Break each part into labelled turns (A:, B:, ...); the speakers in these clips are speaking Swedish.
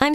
A: I'm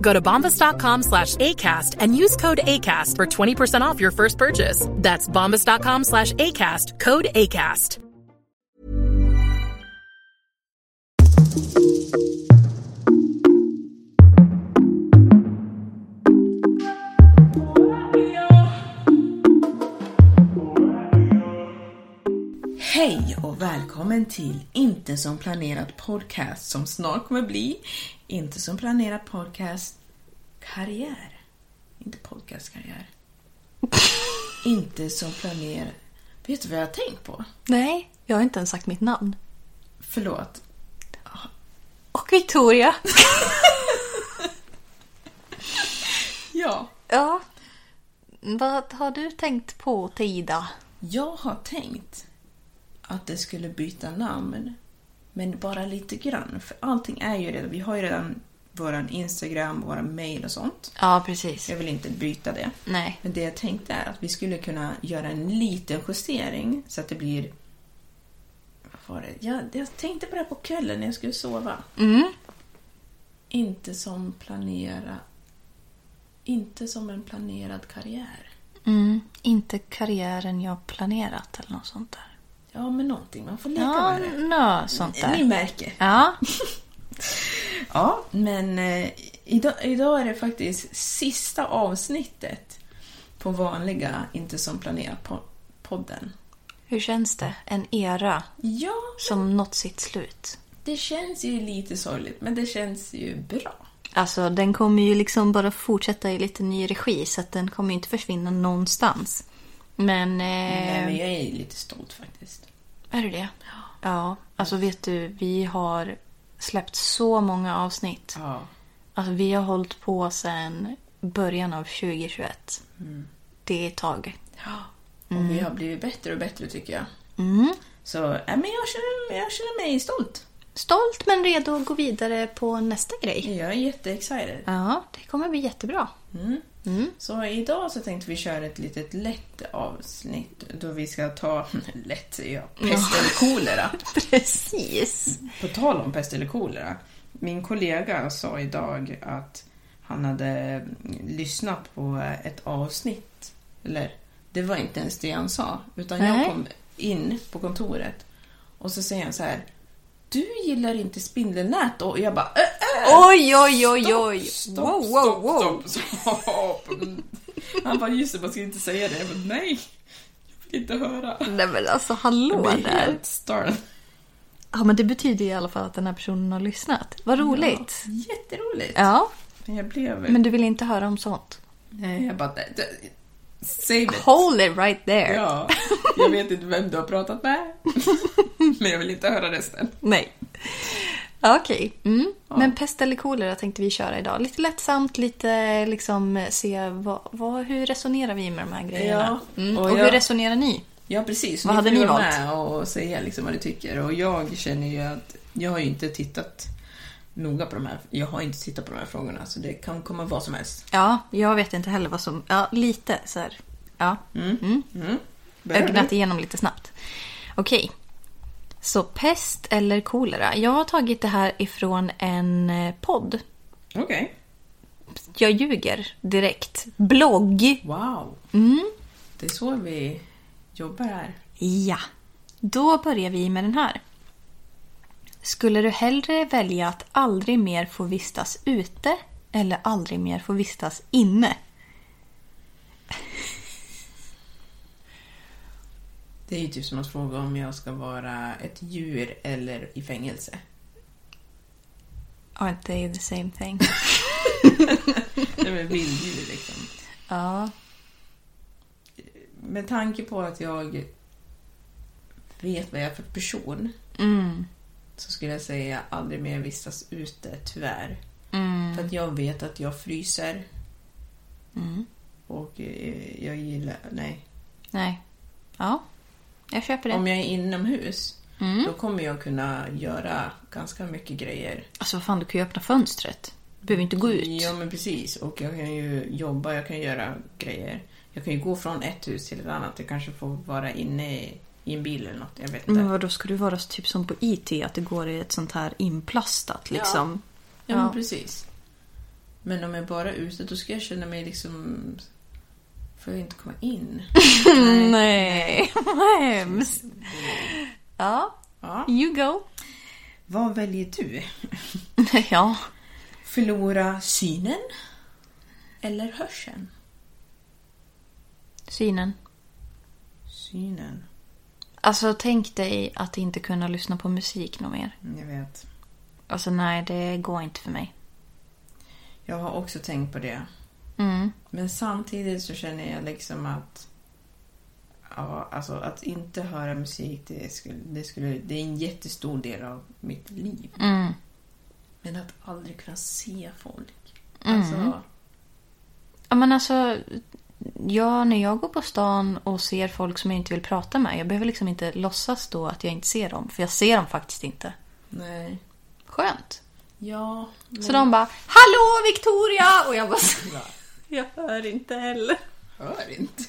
B: Go to bombas.com slash ACAST and use code ACAST for 20% off your first purchase. That's bombas.com slash ACAST, code ACAST.
C: Hej och välkommen till Inte som planerat podcast som snart kommer bli Inte som planerat podcast karriär. Inte podcastkarriär. inte som planerat... Vet du vad jag har tänkt på?
D: Nej, jag har inte ens sagt mitt namn.
C: Förlåt.
D: Och Victoria.
C: Ja.
D: ja. Vad har du tänkt på till Ida?
C: Jag har tänkt att det skulle byta namn. Men bara lite grann. För allting är ju redan... Vi har ju redan våran Instagram, våra mail och sånt.
D: Ja, precis.
C: Jag vill inte byta det.
D: Nej.
C: Men det jag tänkte är att vi skulle kunna göra en liten justering så att det blir... Vad var det? Jag, jag tänkte på det här på kvällen när jag skulle sova.
D: Mm.
C: Inte som planera... Inte som en planerad karriär.
D: Mm, inte karriären jag planerat eller något sånt där.
C: Ja, men någonting. Man får leka
D: Ja,
C: med det.
D: nå, sånt
C: Ni
D: där.
C: märker.
D: Ja,
C: Ja, men eh, idag, idag är det faktiskt sista avsnittet på vanliga Inte som planerat po- podden.
D: hur känns det? En era
C: Ja,
D: som nått sitt slut.
C: det känns ju lite sorgligt, men det känns ju bra.
D: Alltså, den kommer ju liksom bara fortsätta i lite ny regi så att den kommer ju inte försvinna någonstans. Men...
C: Nej,
D: Eh,
C: men jag är lite stolt faktiskt.
D: Är du det? Ja. Alltså vet du, vi har släppt så många avsnitt.
C: Ja.
D: Alltså vi har hållit på sedan början av 2021.
C: Mm.
D: Det är ett tag.
C: Och vi har blivit bättre och bättre tycker jag.
D: Mm.
C: Så nej, men jag, känner, jag känner mig stolt.
D: Stolt men redo att gå vidare på nästa grej.
C: Jag är jätteexcited.
D: Ja, det kommer bli jättebra.
C: Så idag så tänkte vi köra ett litet lätt avsnitt då vi ska ta... Lätt säger jag. Pest eller kolera.
D: Precis.
C: På tal om pest eller kolera. Min kollega sa idag att han hade mm, lyssnat på ett avsnitt. Eller, det var inte ens det han sa. Utan jag
D: Nej.
C: kom in på kontoret och så säger han så här. Du gillar inte spindelnät och jag bara... Äh, äh,
D: Oj, oj, oj, oj.
C: Stopp,
D: Wow, wow,
C: stopp,
D: wow.
C: stopp, stopp. Han bara, just det, man ska inte säga det. Jag bara, nej, jag vill inte höra.
D: Nej men alltså
C: Jag
D: hallå
C: blir
D: där.
C: helt störd.
D: Ja men det betyder i alla fall att den här personen har lyssnat. Vad roligt.
C: Jätteroligt.
D: Ja.
C: Men jag blev...
D: Men du vill inte höra om sånt?
C: Nej, Eh, jag bara, nej, det- save it.
D: Hold it right there.
C: Ja, jag vet inte vem du har pratat med. Men jag vill inte höra resten.
D: Nej. Ja, Okej. Mm. Men pest eller kolera tänkte vi köra idag. Lite lättsamt, lite liksom se vad, vad, hur resonerar vi med de här grejerna?
C: Ja.
D: Mm.
C: Och
D: Och,
C: jag-
D: hur resonerar ni?
C: Ja, precis.
D: Vad hade
C: får
D: ni
C: vara
D: valt?
C: med och säga liksom vad ni tycker. Och jag känner ju att jag har ju inte tittat noga på de här. Jag har inte tittat på de här frågorna, så det kan komma vad som helst.
D: Ja, jag vet inte heller vad som... Ja, lite så här. Ja. Mm.
C: Mm. Börjar du?
D: Ögnat igenom lite snabbt. Okej. Så pest eller kolera? Jag har tagit det här ifrån en eh, podd.
C: Okej.
D: Jag ljuger direkt. Blogg.
C: Wow.
D: Mm.
C: Det är så vi jobbar här.
D: Ja. Då börjar vi med den här. Skulle du hellre välja att aldrig mer få vistas ute eller aldrig mer få vistas inne?
C: Det är ju typ som att fråga om jag ska vara ett djur eller i fängelse.
D: Aren't they the same thing?
C: Det är väl vilddjur liksom.
D: ja.
C: Med tanke på att jag vet vad jag är för person
D: Mm.
C: så skulle jag säga aldrig mer vistas ute, tyvärr.
D: Mm.
C: För att jag vet att jag fryser.
D: Mm.
C: Och eh, jag gillar... Nej.
D: Nej. Ja. Jag köper det.
C: Om jag är inomhus
D: Mm.
C: då kommer jag kunna göra ganska mycket grejer.
D: Alltså vad fan, du kan ju öppna fönstret. Du behöver inte gå ut.
C: Ja men precis. Och jag kan ju jobba, jag kan göra grejer. Jag kan ju gå från ett hus till ett annat. Jag kanske får vara inne i, i en bil eller något. Jag vet inte.
D: Men vadå, ska du vara typ som på IT? Att det går i ett sånt här inplastat liksom?
C: Ja, men precis. Men om jag bara är ute då ska jag känna mig liksom... Får jag inte komma in?
D: Nej, vad hemskt. Ja,
C: Ja.
D: you go.
C: Vad väljer du?
D: ja.
C: Förlora synen? Eller hörseln?
D: Synen.
C: Synen.
D: Alltså tänk dig att inte kunna lyssna på musik något mer.
C: Mm, Jag vet.
D: Alltså nej, det går inte för mig.
C: Jag har också tänkt på det.
D: Mm.
C: Men samtidigt så känner jag liksom att... Ja, alltså att inte höra musik, det, skulle, det, skulle, det är en jättestor del av mitt liv.
D: Mm.
C: Men att aldrig kunna se folk. Alltså,
D: Ja men alltså, ja, när jag går på stan och ser folk som jag inte vill prata med. Jag behöver liksom inte låtsas då att jag inte ser dem. För jag ser dem faktiskt inte.
C: nej.
D: Skönt.
C: Ja,
D: Så de bara “Hallå Victoria!” och jag bara “Jag hör inte heller”.
C: hör inte.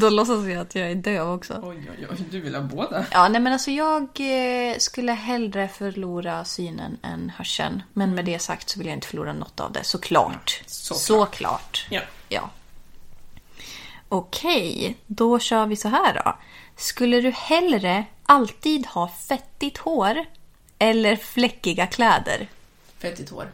D: Då låtsas jag att jag är döv också.
C: Oj, oj, oj, du vill ha båda.
D: Ja, nej men alltså jag eh, skulle hellre förlora synen än hörseln. Men med det sagt så vill jag inte förlora något av det, såklart.
C: såklart.
D: Såklart.
C: Ja.
D: ja. Okej, då kör vi så här då. Skulle du hellre alltid ha fettigt hår eller fläckiga kläder?
C: Fettigt hår.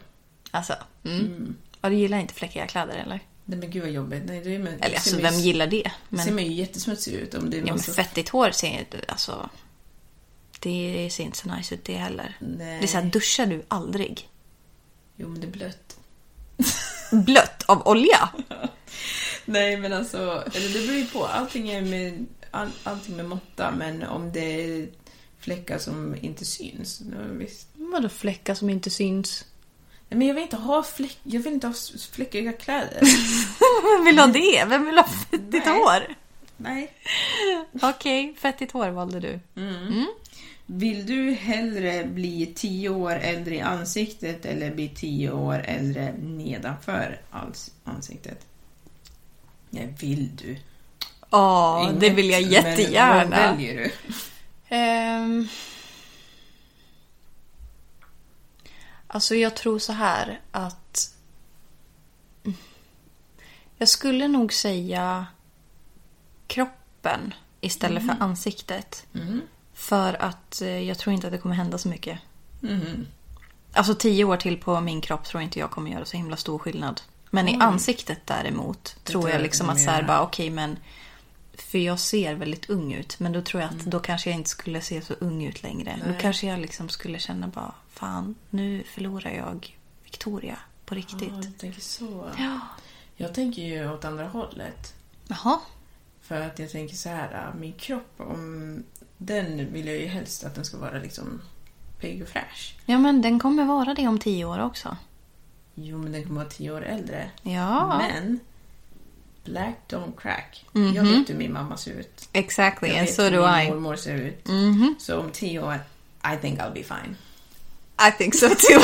D: Alltså, mm. Ja, du gillar inte fläckiga kläder eller?
C: Nej men gud vad jobbigt. Nej, det är, men,
D: Eller alltså,
C: ser
D: vem
C: mig-
D: gillar det?
C: Ser
D: Men,
C: mig ju jättesmutsig ut om det är
D: ja, men
C: massa...
D: fettigt hår ser ju alltså... Det ser inte så nice ut det heller.
C: Nej.
D: Det är såhär, duschar du aldrig?
C: Jo men det är blött.
D: Blött av olja?
C: Nej men alltså, eller det beror ju på. Allting är med, all, allting med måtta men om det är fläckar som inte syns. då Visst.
D: Vadå fläckar som inte syns?
C: Nej, men jag vill inte ha fläck, jag vill inte ha s- fläckiga kläder.
D: Vem vill ha det? Vem vill ha fettigt
C: Nej.
D: hår?
C: Nej.
D: Okej, fettigt hår valde du.
C: Mm. Vill du hellre bli tio år äldre i ansiktet eller bli tio år äldre nedanför ans- ansiktet? Nej, vill du?
D: Ja, det
C: Inget,
D: vill jag
C: men
D: jättegärna.
C: Vad väljer du?
D: Ehm. Alltså jag tror så här att... Mm. Jag skulle nog säga kroppen istället för ansiktet. För att eh, jag tror inte att det kommer hända så mycket. Alltså tio år till på min kropp tror inte jag kommer göra så himla stor skillnad. Men i ansiktet däremot tror
C: tror
D: jag
C: jag
D: liksom
C: kommer
D: att så här
C: göra.
D: bara okej men för jag ser väldigt ung ut men då tror jag att
C: Mm.
D: då kanske jag inte skulle se så ung ut längre. Då kanske jag liksom skulle känna bara fan nu förlorar jag Victoria på riktigt.
C: Ja, du tänker så.
D: Ja.
C: Jag tänker ju åt andra hållet.
D: Jaha.
C: För att jag tänker så här, äh, min kropp, om, den vill jag ju helst att den ska vara liksom pigg och fräsch.
D: Ja men den kommer vara det om tio år också.
C: Jo, men den kommer vara tio år äldre.
D: Ja.
C: Men, black don't crack. Jag
D: Mhm.
C: vet hur min mamma ser ut.
D: Exactly
C: Jag
D: and
C: vet
D: so
C: hur
D: do
C: min
D: I.
C: mormor ser ut. Så om tio år, I think I'll be fine.
D: I think so too.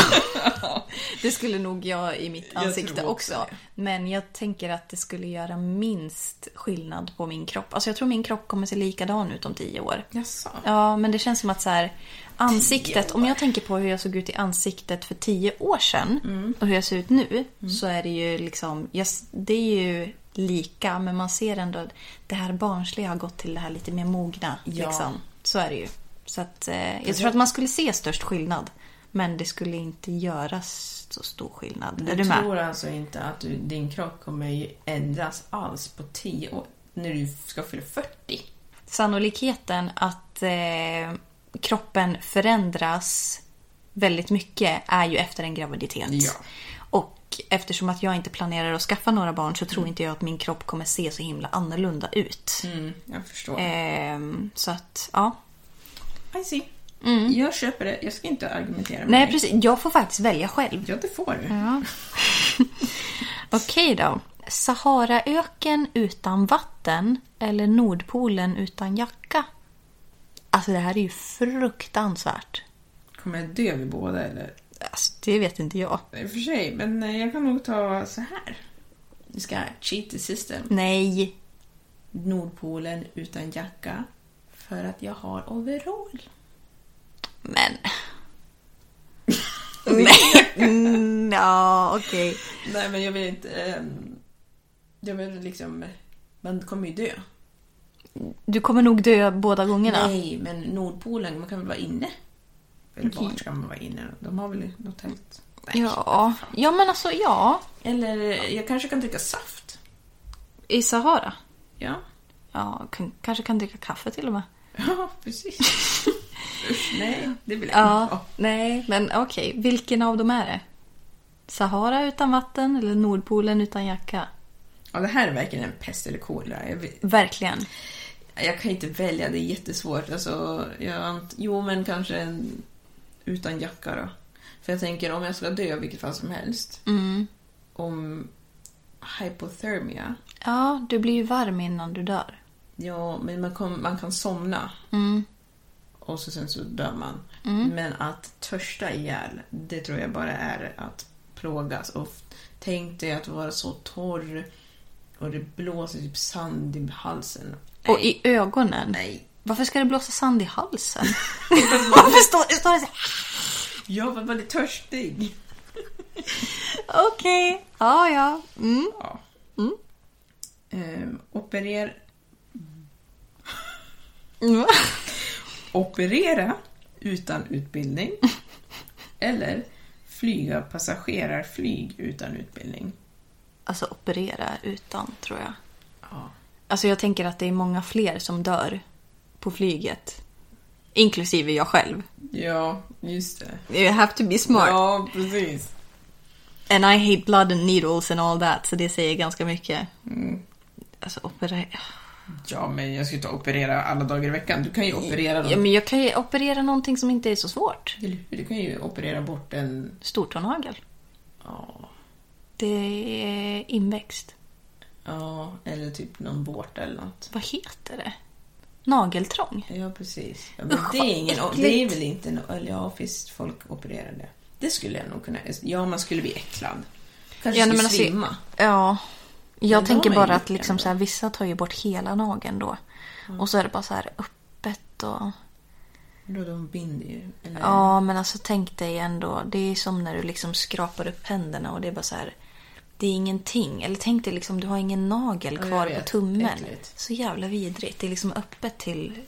D: det skulle nog jag i mitt
C: Jag
D: ansikte
C: tror
D: också.
C: också
D: Men jag tänker att det skulle göra minst skillnad på min kropp. Alltså jag tror min kropp kommer se likadan ut om tio år.
C: Jaså?
D: Ja, men det känns som att så här, ansiktet, om jag tänker på hur jag såg ut i ansiktet för tio år sedan
C: Mm.
D: och hur jag ser ut nu så är det ju liksom, jag, s- det är ju lika men man ser ändå att det här barnsliga har gått till det här lite mer mogna.
C: Ja.
D: Liksom. Så är det ju. Så att, eh, jag tror att man skulle se störst skillnad men det skulle inte göras så stor skillnad. är
C: Du
D: du
C: tror
D: med?
C: alltså inte att du, din kropp kommer ju ändras alls på 10 år? När du ska fylla 40?
D: Sannolikheten att eh, kroppen förändras väldigt mycket är ju efter en graviditet.
C: Ja.
D: Och eftersom att jag inte planerar att skaffa några barn så tror inte jag att min kropp kommer se så himla annorlunda ut.
C: Mm, jag förstår.
D: Ehm, så att, ja.
C: I see. Jag köper det. Jag ska inte argumentera med
D: Nej
C: dig.
D: precis, jag får faktiskt välja själv.
C: Ja, det får du.
D: Okej då. Saharaöken utan vatten eller Nordpolen utan jacka? Alltså det här är ju fruktansvärt.
C: Kommer jag dö vid båda eller?
D: Alltså, det vet inte jag.
C: I och för sig, men eh, jag kan nog ta så här. Vi ska cheat the system.
D: Nej.
C: Nordpolen utan jacka. För att jag har overall.
D: Men... Men... Mm, ja, okej.
C: Nej, men jag vill inte... ehm, jag vill liksom... Man kommer ju dö.
D: Du kommer nog dö båda gångerna.
C: Nej, men Nordpolen, man kan väl vara inne? Eller vart ska man vara inne? De har väl något tält? Nej.
D: Ja. ja, men alltså ja.
C: Eller eh, jag kanske kan dricka saft?
D: I Sahara.
C: Ja.
D: Ja, k- kanske kan dricka kaffe till och med.
C: Ja, precis. Usch, nej, det vill jag inte
D: Ja,
C: ha.
D: nej. Men okej, vilken av dem är det? Sahara utan vatten eller Nordpolen utan jacka?
C: Ja, det här är verkligen en pest eller kolera. Jag, vet-
D: Verkligen.
C: jag kan inte välja, det är jättesvårt. Alltså, jag, ant- jo, men kanske en, utan jacka då. För jag tänker om jag ska dö, vilket fall som helst. Om hypothermia.
D: Ja, du blir ju varm innan du dör.
C: Ja, men man, kom, man kan somna. Och så sen så dör man. Men att törsta ihjäl, det tror jag bara är att plågas. Och f- tänk dig att vara så torr och det blåser typ sand i halsen.
D: Och i ögonen.
C: Nej.
D: Varför ska det blåsa sand i halsen? Varför står, står det så här?
C: Jag var väldigt törstig.
D: Okej. Ja, ja. Mm.
C: Ehm, operer,
D: Mm.
C: operera utan utbildning. Eller flyga passagerarflyg utan utbildning.
D: Alltså operera utan, tror jag.
C: Ja.
D: Alltså jag tänker att det är många fler som dör på flyget. Inklusive jag själv.
C: Ja, just det.
D: You have to be smart.
C: Ja, precis.
D: And I hate blood and needles and all that, så det säger ganska mycket. Alltså operera...
C: Mm. Ja, men jag ska ju inte operera alla dagar i veckan. Du kan ju operera
D: Ja,
C: dem.
D: men jag kan ju operera någonting som inte är så svårt.
C: Eller hur? Du kan ju operera bort en...
D: Stortånagel.
C: Ja,
D: Det är inväxt.
C: ja eller typ någon vårta eller något.
D: Vad heter det? Nageltrång?
C: Ja, precis. Ja, men
D: Usch,
C: det,
D: vad
C: är ingen,
D: äckligt.
C: det är väl inte... nå- Eller ja, visst, folk opererar det. Det skulle jag nog kunna... Ja, man skulle bli äcklad. Kanske skulle svimma.
D: alltså, ja. Jag
C: Men de
D: tänker
C: är
D: bara
C: ju
D: att liksom
C: ändå.
D: så här, vissa tar ju bort hela nageln då.
C: Mm.
D: Och så är det bara så här öppet och...
C: Då de binder ju. Eller...
D: Ja, men alltså tänk dig ändå. Det är som när du liksom skrapar upp händerna och det är bara så här. Det är ingenting. Eller tänk dig liksom, du har ingen nagel
C: Ja, jag
D: kvar
C: vet.
D: på tummen.
C: Äckligt.
D: Så jävla vidrigt. Det är liksom öppet till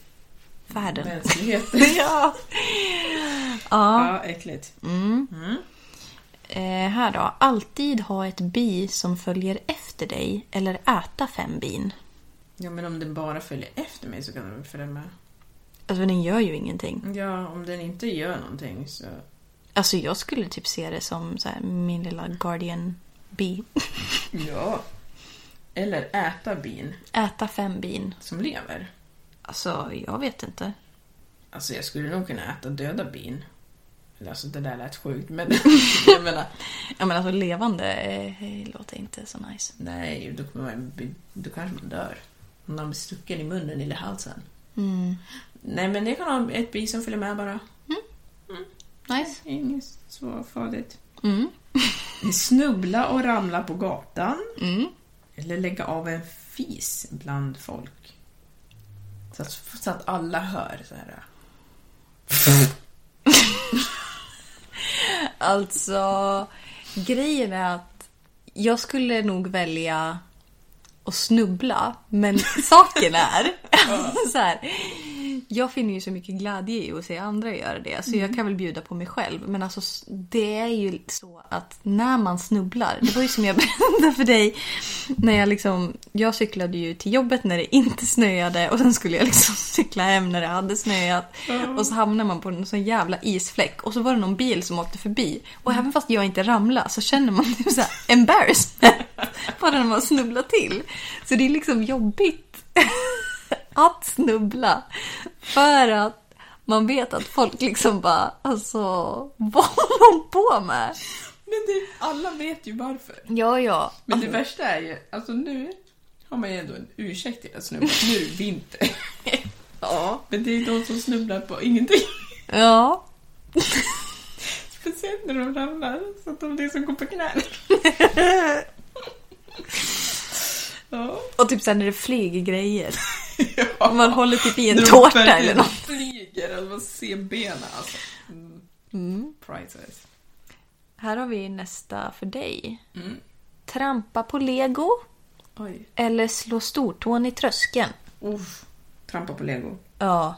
D: världen.
C: Mänskligheten.
D: ja.
C: ja, äckligt.
D: Eh, här då. Alltid ha ett bi som följer efter dig eller äta fem bin.
C: Ja, men om den bara följer efter mig så kan den väl följa med.
D: Alltså den gör ju ingenting.
C: Ja, om den inte gör någonting så...
D: Alltså jag skulle typ se det som så här, min lilla guardian bi.
C: Ja. Eller äta bin
D: äta fem bin.
C: som lever.
D: Alltså jag vet inte.
C: Alltså jag skulle nog kunna äta döda bin. Eller alltså det där lät sjukt men jag menar,
D: Ja men alltså levande eh, låter inte så nice.
C: nej då, kommer man, bli- då kanske man dör. Om de blir stucken i munnen eller i halsen. Nej men jag kan ha ett bi som följer med bara. Mm.
D: Nice.
C: Inget så farligt. Snubbla och ramla på gatan. Eller lägga av en fis bland folk. Så att, så att alla hör så här.
D: Alltså, grejen är att jag skulle nog välja att snubbla, men saken är så här. Jag finner ju så mycket glädje i att se andra göra det, så jag kan väl bjuda på mig själv. Men alltså, s- det är ju så att när man snubblar, det var ju som jag berättade för dig, när jag liksom, jag cyklade ju till jobbet när det inte snöade och sen skulle jag liksom cykla hem när det hade snöat. Och så hamnar man på en sån jävla isfläck och så var det någon bil som åkte förbi. Och även fast jag inte ramlade så känner man typ såhär embarrassment. Bara när man snubblar till. Så det är liksom jobbigt att snubbla. För att man vet att folk liksom bara, alltså vad håller hon på med?
C: Men det, alla vet ju varför.
D: Ja, ja.
C: Men det värsta är ju, alltså nu har man ju ändå en ursäkt till att snubbla. Nu är det vinter.
D: Ja.
C: Men det är ju de som snubblar på ingenting.
D: Ja.
C: Speciellt när de ramlar, så att de liksom går på knä. ja.
D: Och typ sen när det flyger grejer.
C: ja.
D: Man håller typ i en
C: När de
D: tårta
C: verkligen
D: eller något.
C: flyger, alltså man ser benen alltså. Mm. Priceless.
D: Här har vi nästa för dig. Trampa på lego
C: Oj.
D: eller slå stortån i tröskeln?
C: Uff. Trampa på lego.
D: Ja.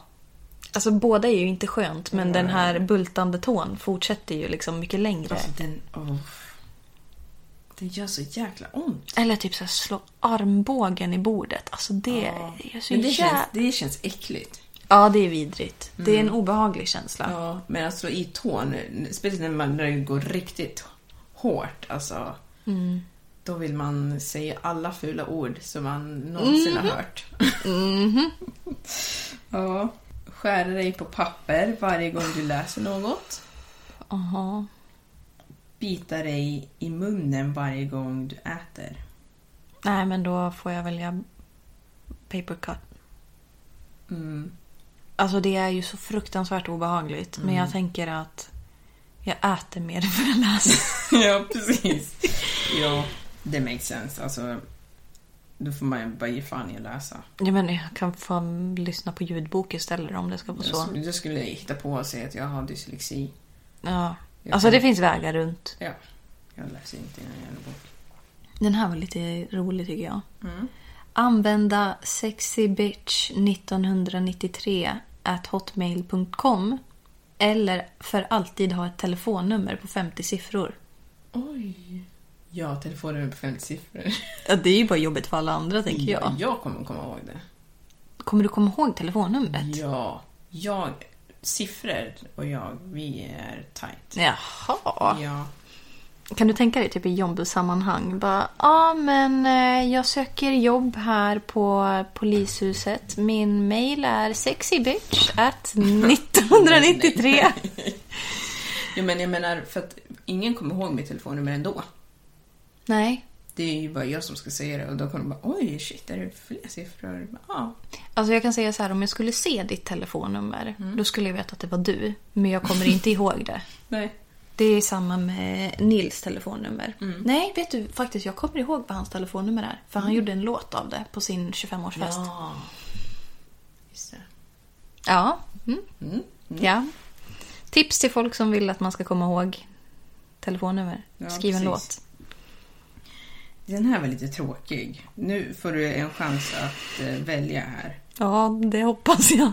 D: Alltså båda är ju inte skönt men den här bultande tån fortsätter ju liksom mycket längre.
C: Alltså den, oh. Den gör så jäkla ont.
D: Eller typ så här, slå armbågen i bordet. Alltså det är så
C: Men det,
D: jävla...
C: känns, det känns äckligt.
D: Ja, det är vidrigt. Det är en obehaglig känsla.
C: Ja, men alltså i tån, speciellt när man när det går riktigt hårt, alltså. Då vill man säga alla fula ord som man någonsin har hört. ja. Skära dig på papper varje gång du läser något.
D: Aha.
C: Bita dig i munnen varje gång du äter.
D: Nej, men då får jag välja paper cut.
C: Mm.
D: Alltså det är ju så fruktansvärt obehagligt. Men
C: Mm.
D: jag tänker att jag äter mer för att läsa.
C: ja, precis. ja, det makes sense. Alltså, då får man ju bara ge fan i att läsa.
D: Jag menar, jag kan fan lyssna på ljudbok istället om det ska vara så.
C: Då skulle jag hitta på och säga att jag har dyslexi.
D: Ja. Alltså det finns vägar runt.
C: Ja, jag läser inte en jävla bok.
D: Den här var lite rolig tycker jag. Använda sexybitch 1993 at hotmail.com eller för alltid ha ett telefonnummer på 50 siffror.
C: Oj! Ja, telefonen är på 50 siffror.
D: Ja, det är ju bara jobbigt för alla andra tänker jag.
C: Jag kommer komma ihåg det.
D: Kommer du komma ihåg telefonnumret?
C: Ja, jag... Siffror och jag, vi är tight.
D: Jaha.
C: Ja.
D: Kan du tänka dig typ i jobbsammanhang? Bara, ja men eh, jag söker jobb här på polishuset. Min mail är sexybitch at 1993.
C: ja, men jag menar, för att ingen kommer ihåg mitt telefonnummer ändå.
D: Nej.
C: Det är ju bara jag som ska säga det och då kommer de bara oj, shit, är det fler siffror? Ja.
D: Alltså jag kan säga så här, om jag skulle se ditt telefonnummer, då skulle jag veta att det var du. Men jag kommer inte ihåg det.
C: Nej.
D: Det är samma med Nils telefonnummer. Nej, vet du faktiskt, jag kommer ihåg vad hans telefonnummer är. För han gjorde en låt av det på sin 25-årsfest. Mm. Ja.
C: Just det.
D: Ja. Mm. ja. Tips till folk som vill att man ska komma ihåg telefonnummer.
C: Ja,
D: Skriv en
C: precis.
D: låt.
C: Den här var lite tråkig. Nu får du en chans att eh, välja här.
D: Ja, det hoppas jag.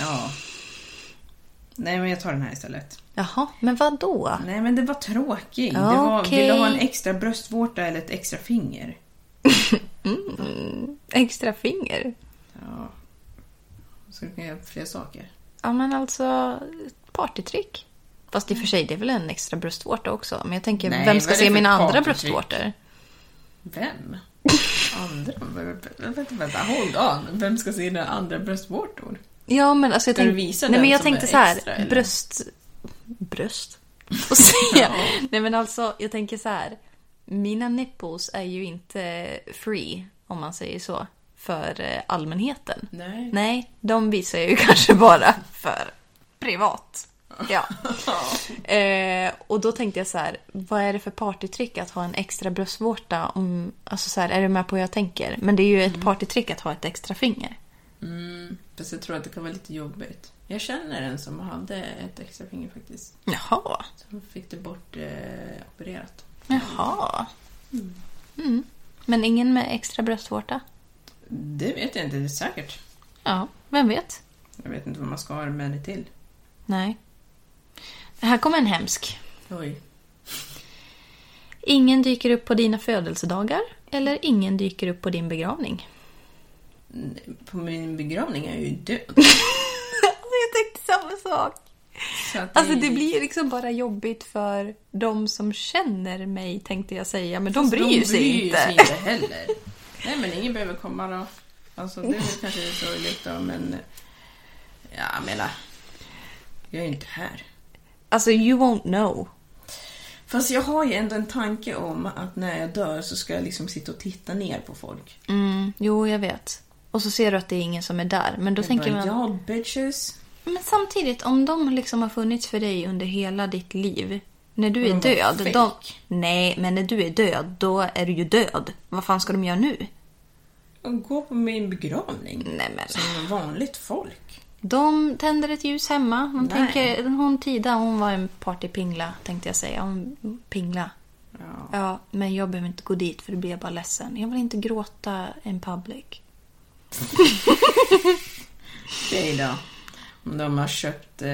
C: Ja. Nej, men jag tar den här istället.
D: Jaha, men vad då?
C: Nej men det var tråkigt.
D: Ja,
C: det var, Vill du ha en
D: okej.
C: extra bröstvårta eller ett extra finger?
D: Mm. Extra finger?
C: Ja. Så du kan göra fler saker.
D: Ja men alltså, ett partytrick. Fast i och för sig, det är väl en extra bröstvårta också. Men jag tänker,
C: Nej,
D: vem ska
C: vad är det
D: se
C: för
D: mina andra
C: partytrick?
D: bröstvårtor?
C: Vem? Andra? Vänta, vänta, vänta, hold on. Vem ska se dina andra bröstvårtor?
D: Ja men alltså jag
C: Ska du
D: tänkte...
C: visa
D: Nej
C: den
D: men jag
C: som
D: tänkte
C: är
D: så här,
C: extra, eller?
D: bröst... Bröst? Och säga. Nej men alltså, jag tänker så här. Mina nipples är ju inte free, om man säger så, för eh, allmänheten.
C: Nej.
D: Nej, de visar jag ju kanske bara för privat. Ja. eh, och då tänkte jag så här, vad är det för partytrick att ha en extra bröstvårta? Om, alltså så här, är du med på hur jag tänker? Men det är ju ett partytrick att ha ett extra finger.
C: Mm, fast jag tror att det kan vara lite jobbigt. Jag känner en som hade ett extra finger faktiskt.
D: Jaha.
C: Som fick det bort eh, opererat.
D: Jaha. Mm. Men ingen med extra bröstvårta?
C: Det vet jag inte, det är säkert.
D: Ja, vem vet?
C: Jag vet inte vad man ska ha det med det till.
D: Nej. Här kommer en hemsk.
C: Oj.
D: Ingen dyker upp på dina födelsedagar eller ingen dyker upp på din begravning.
C: På min begravning är jag ju död.
D: Alltså, jag tänkte samma sak.
C: Så att
D: Alltså det blir ju liksom bara jobbigt för de som känner mig tänkte jag säga, men de
C: Fast
D: bryr
C: de
D: sig
C: sig
D: inte.
C: inte heller. Nej men ingen behöver komma då. Alltså det är väl kanske lite sorgligt då men... Ja, jag menar. Jag är ju inte här.
D: Alltså you won't know.
C: Fast jag har ju ändå en tanke om att när jag dör så ska jag liksom sitta och titta ner på folk.
D: Mm, jo, jag vet. Och så ser du att det är ingen som är där, men då tänker
C: bara,
D: man...
C: Ja, bitches.
D: Men samtidigt, om de liksom har funnits för dig under hela ditt liv. När du är
C: Men vad
D: död,
C: fake.
D: de... Nej, men när du är död, då är du ju död. Vad fan ska de göra nu?
C: Och gå på min begravning.
D: Nej, men...
C: Som vanligt folk.
D: De tänder ett ljus hemma. Man
C: Nej.
D: tänker, hon Tida, hon var en partypingla, tänkte jag säga. Hon, pingla.
C: Ja.
D: Ja, men jag behöver inte gå dit för då blir jag bara ledsen. Jag vill inte gråta in public.
C: Okej då. Om de har köpt eh,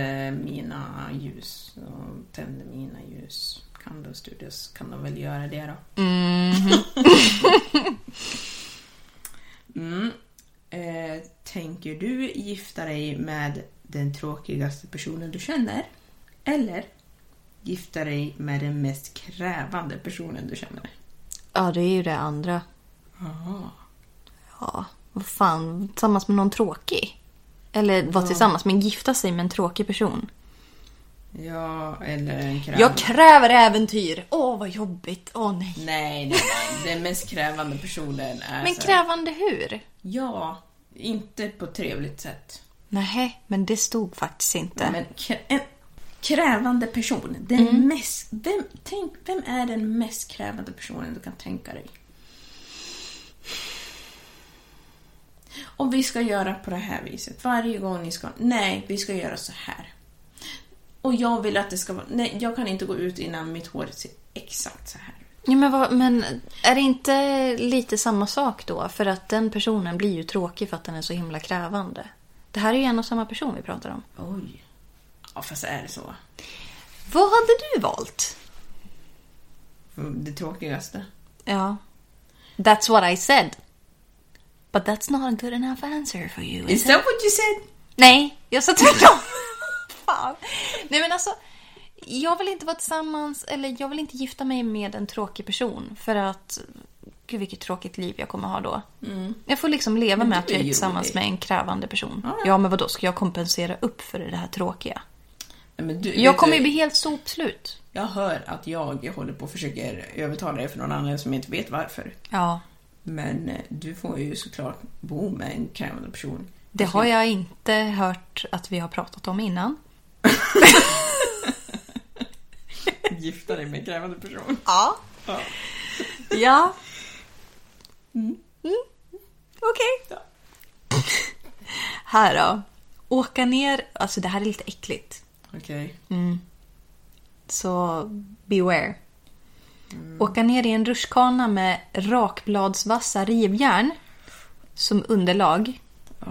C: mina ljus och tänder mina ljus. Candle Studios kan de väl göra det då.
D: Mm-hmm.
C: Mm. Eh, tänker du gifta dig med den tråkigaste personen du känner? Eller gifta dig med den mest krävande personen du känner?
D: Ja, det är ju det andra.
C: Aha.
D: Ja, vad fan. Tillsammans med någon tråkig. Eller vara tillsammans men gifta sig med en tråkig person.
C: Ja, eller en krävande.
D: Jag kräver äventyr! Åh, vad jobbigt. Åh, nej. alltså.
C: Nej, nej, nej. Den mest krävande personen är
D: Men
C: så här-
D: krävande hur?
C: Ja, inte på ett trevligt sätt.
D: Nej, men det stod faktiskt inte.
C: Men krä- en krävande person. Den mest, vem, tänk, vem är den mest krävande personen du kan tänka dig? Och vi ska göra på det här viset. Varje gång ni ska... Nej, vi ska göra så här. Och jag vill att det ska vara... Nej, jag kan inte gå ut innan mitt hår ser exakt så här ut.
D: Ja, men, vad, men är det inte lite samma sak då? För att den personen blir ju tråkig för att den är så himla krävande. Det här är ju en och samma person vi pratar om.
C: Oj. Ja, fast är det så?
D: Vad hade du valt?
C: Mm, Det tråkigaste.
D: Ja. That's what I said. But that's not a good enough answer for you.
C: Is that what you said?
D: Nej, jag sa tvärtom. Fan. Nej men alltså, jag vill inte vara tillsammans eller jag vill inte gifta mig med en tråkig person för att Gud vilket tråkigt liv jag kommer ha då. Jag får liksom leva med
C: du
D: att jag
C: är
D: är
C: ju
D: tillsammans
C: rolig.
D: med en krävande person.
C: Ja,
D: Ja,
C: ja.
D: men vad då ska jag kompensera upp för det här tråkiga?
C: Nej, men du,
D: Jag
C: vet
D: kommer
C: du-
D: ju bli helt sopslut.
C: Jag hör att jag håller på och försöker övertala dig för någon annan som inte vet varför.
D: Ja,
C: Men eh, du får ju såklart bo med en krävande person.
D: det har jag inte hört att vi har pratat om innan.
C: Gifta dig med en krävande person.
D: Ja.
C: Ja.
D: Ja. Mm. Okej. här då. Åka ner, alltså det här är lite äckligt.
C: Okej.
D: Så beware. Åka ner i en rutschkana med rakbladsvassa rivjärn som underlag.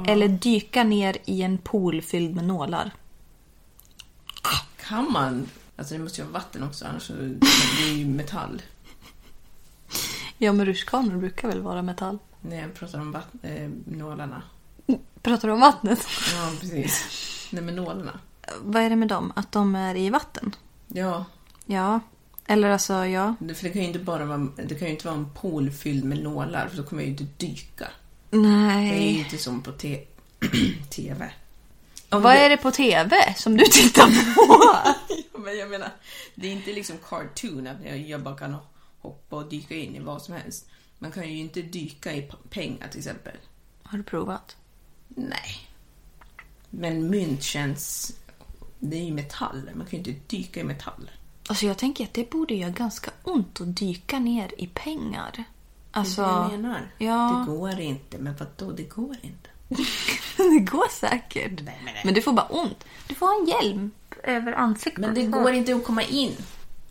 D: Eller dyka ner i en pool fylld med nålar.
C: Kan man? Alltså det måste ju vara vatten också annars så det är ju metall.
D: Ja, men rutschkanor brukar väl vara metall?
C: När jag pratar om vatt- eh, nålarna.
D: Pratar du om vattnet?
C: Ja, precis. Nej, men nålarna.
D: Vad är det med dem? Att de är i vatten?
C: Ja,
D: Ja. Eller alltså, ja.
C: det- för det kan ju inte bara vara, det kan ju inte vara en pool fylld med nålar för då kommer jag ju inte dyka. Det är ju
D: Nej.
C: inte som på te- TV.
D: Vad är det på TV som du tittar på?
C: Ja, Men jag menar, det är inte liksom cartoon att jag- jag bara kan hoppa och dyka in i vad som helst. Man kan ju inte dyka i p- pengar till exempel.
D: Har du provat?
C: Nej. Men mynt känns Det är ju metall. Man kan ju inte dyka i metall.
D: Alltså jag tänker att det borde göra ganska ont att dyka ner i pengar. Alltså,
C: det är det jag menar.
D: Ja,
C: Det går inte. Men vadå, det går inte?
D: det går säkert. Men du får bara ont. Du får ha en hjälm över ansiktet.
C: Men det går inte att komma in.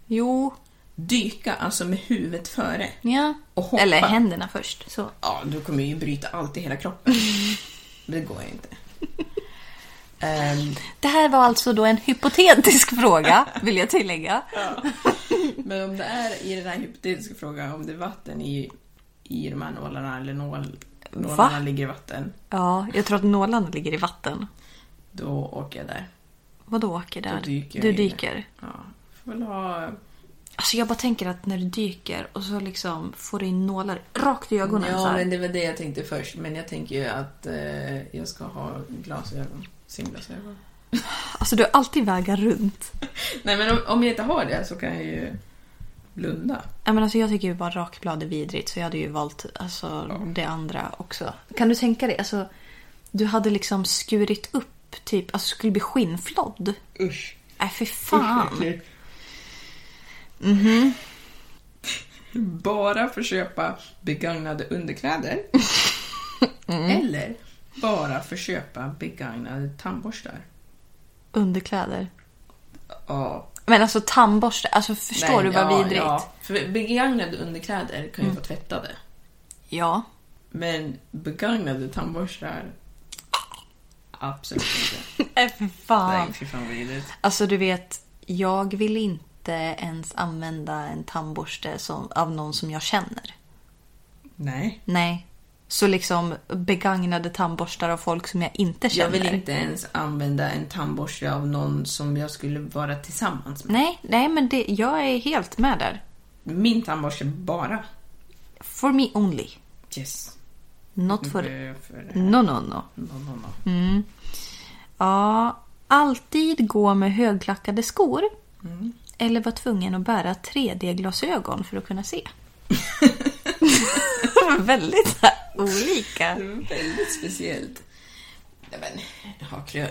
D: Jo.
C: Dyka alltså med huvudet före.
D: Ja.
C: Och hoppa.
D: Eller händerna först. Så.
C: Ja, du kommer ju bryta allt i hela kroppen. Men det går ju inte. Ehm,
D: Det här var alltså då en hypotetisk fråga, vill jag tillägga.
C: men om det är i den här hypotetiska frågan, om det är vatten i, i de här nålarna eller nål, nålarna
D: Va?
C: ligger i vatten,
D: Ja, jag tror att nålarna ligger i vatten.
C: då åker jag där.
D: Vadå åker där?
C: Då dyker jag
D: du
C: in.
D: dyker.
C: Ja, får väl ha...
D: Alltså jag bara tänker att när du dyker och så liksom får du in nålar rakt i ögonen så
C: Ja,
D: här.
C: men det var det jag tänkte först. Men jag tänker ju att eh, jag ska ha glasögon. Simglasögon.
D: Alltså du har alltid vägar runt.
C: Nej, men om, om jag inte har det så kan jag ju blunda.
D: Ja, men alltså jag tycker ju bara rakblad är vidrigt så jag hade ju valt alltså, det andra också. Kan du tänka dig? Alltså, du hade liksom skurit upp typ, alltså skulle bli skinnflodd.
C: Usch.
D: Nej fy fan.
C: mm Mhm. Bara få köpa begagnade underkläder. Mm. Eller bara få köpa begagnade tandborstar.
D: Underkläder.
C: Ja.
D: Men alltså tandborste, alltså förstår
C: Nej,
D: du vad
C: ja,
D: vidrigt? Ja.
C: Ja. Mm. För begagnade underkläder kan ju vara tvättade. Men begagnade tandborstar? Absolut inte.
D: Nej Äh, fy fan.
C: Nej, fy fan vad vidrigt.
D: Alltså du vet, jag vill inte ens använda en tandborste som, av någon som jag känner.
C: Nej.
D: Nej. Så liksom begagnade tandborstar av folk som jag inte känner.
C: Jag vill inte ens använda en tandborste av någon som jag skulle vara tillsammans med.
D: Nej, nej men det, jag är helt med där.
C: Min tandborste bara.
D: For me only.
C: Yes. Mm.
D: Not for...
C: För, för
D: No, no, no.
C: no, no, no.
D: Ja, alltid gå med högklackade skor. Eller vara tvungen att bära 3D-glasögon för att kunna se. Väldigt så här olika.
C: Det var väldigt speciellt. Nej men, ha klö,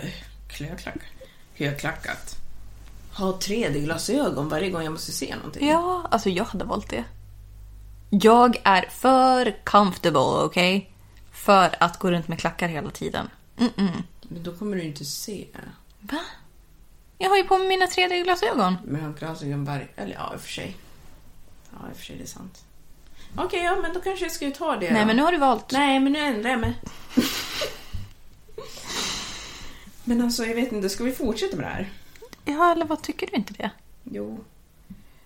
C: klöklackat. Högklackat. Ha 3D-glasögon varje gång jag måste se någonting.
D: Ja, alltså jag hade valt det. Jag är för comfortable, okej? För att gå runt med klackar hela tiden. Mm-mm.
C: Men då kommer du inte se.
D: Va? Jag har ju på mig mina 3D-glasögon.
C: Med högklackad varje... Eller ja, i och för sig. Ja, i och för sig, det är sant. Okej, ja men då kanske jag ska ju ta det
D: Nej,
C: då.
D: men nu har du valt.
C: Nej, men nu ändrar jag mig. men alltså, jag vet inte. Ska vi fortsätta med det här?
D: Ja, eller vad tycker du inte det?
C: Jo.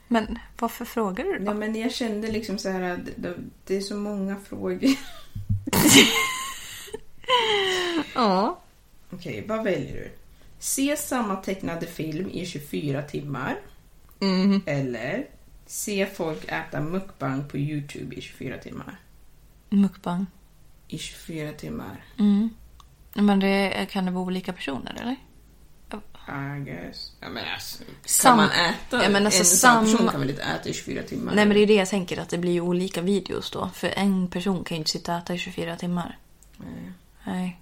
D: Men varför frågar du
C: Ja,
D: då?
C: men jag kände liksom så här att det, det är så många frågor.
D: Ja.
C: Okej, vad väljer du? Se samma tecknade film i 24 timmar.
D: Mm.
C: Eller se folk äta mukbang på Youtube i 24 timmar.
D: Mukbang.
C: I 24 timmar,
D: Men det kan det vara olika personer, eller?
C: I guess. Ja, men alltså, kan
D: Sam-
C: man äta?
D: Ja, men alltså
C: en sam...
D: sam-
C: person kan väl inte äta i 24 timmar?
D: Nej, men det är det jag tänker, att det blir ju olika videos då. För en person kan ju inte sitta och äta i 24 timmar. Mm.
C: Nej.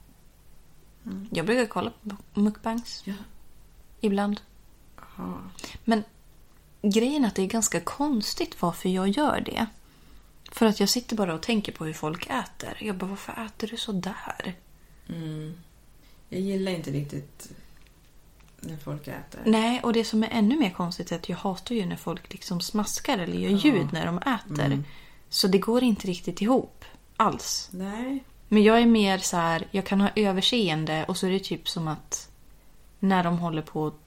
D: Nej. Jag brukar kolla på mukbangs.
C: Ja.
D: Ibland.
C: Ja.
D: Men grejen är att det är ganska konstigt varför jag gör det. För att jag sitter bara och tänker på hur folk äter. Jag bara, varför äter du så där?
C: Jag gillar inte riktigt när folk äter.
D: Nej, och det som är ännu mer konstigt är att jag hatar ju när folk liksom smaskar eller gör ljud när de äter. Så det går inte riktigt ihop. Alls.
C: Nej.
D: Men jag är mer så här, jag kan ha överseende och så är det typ som att när de håller på och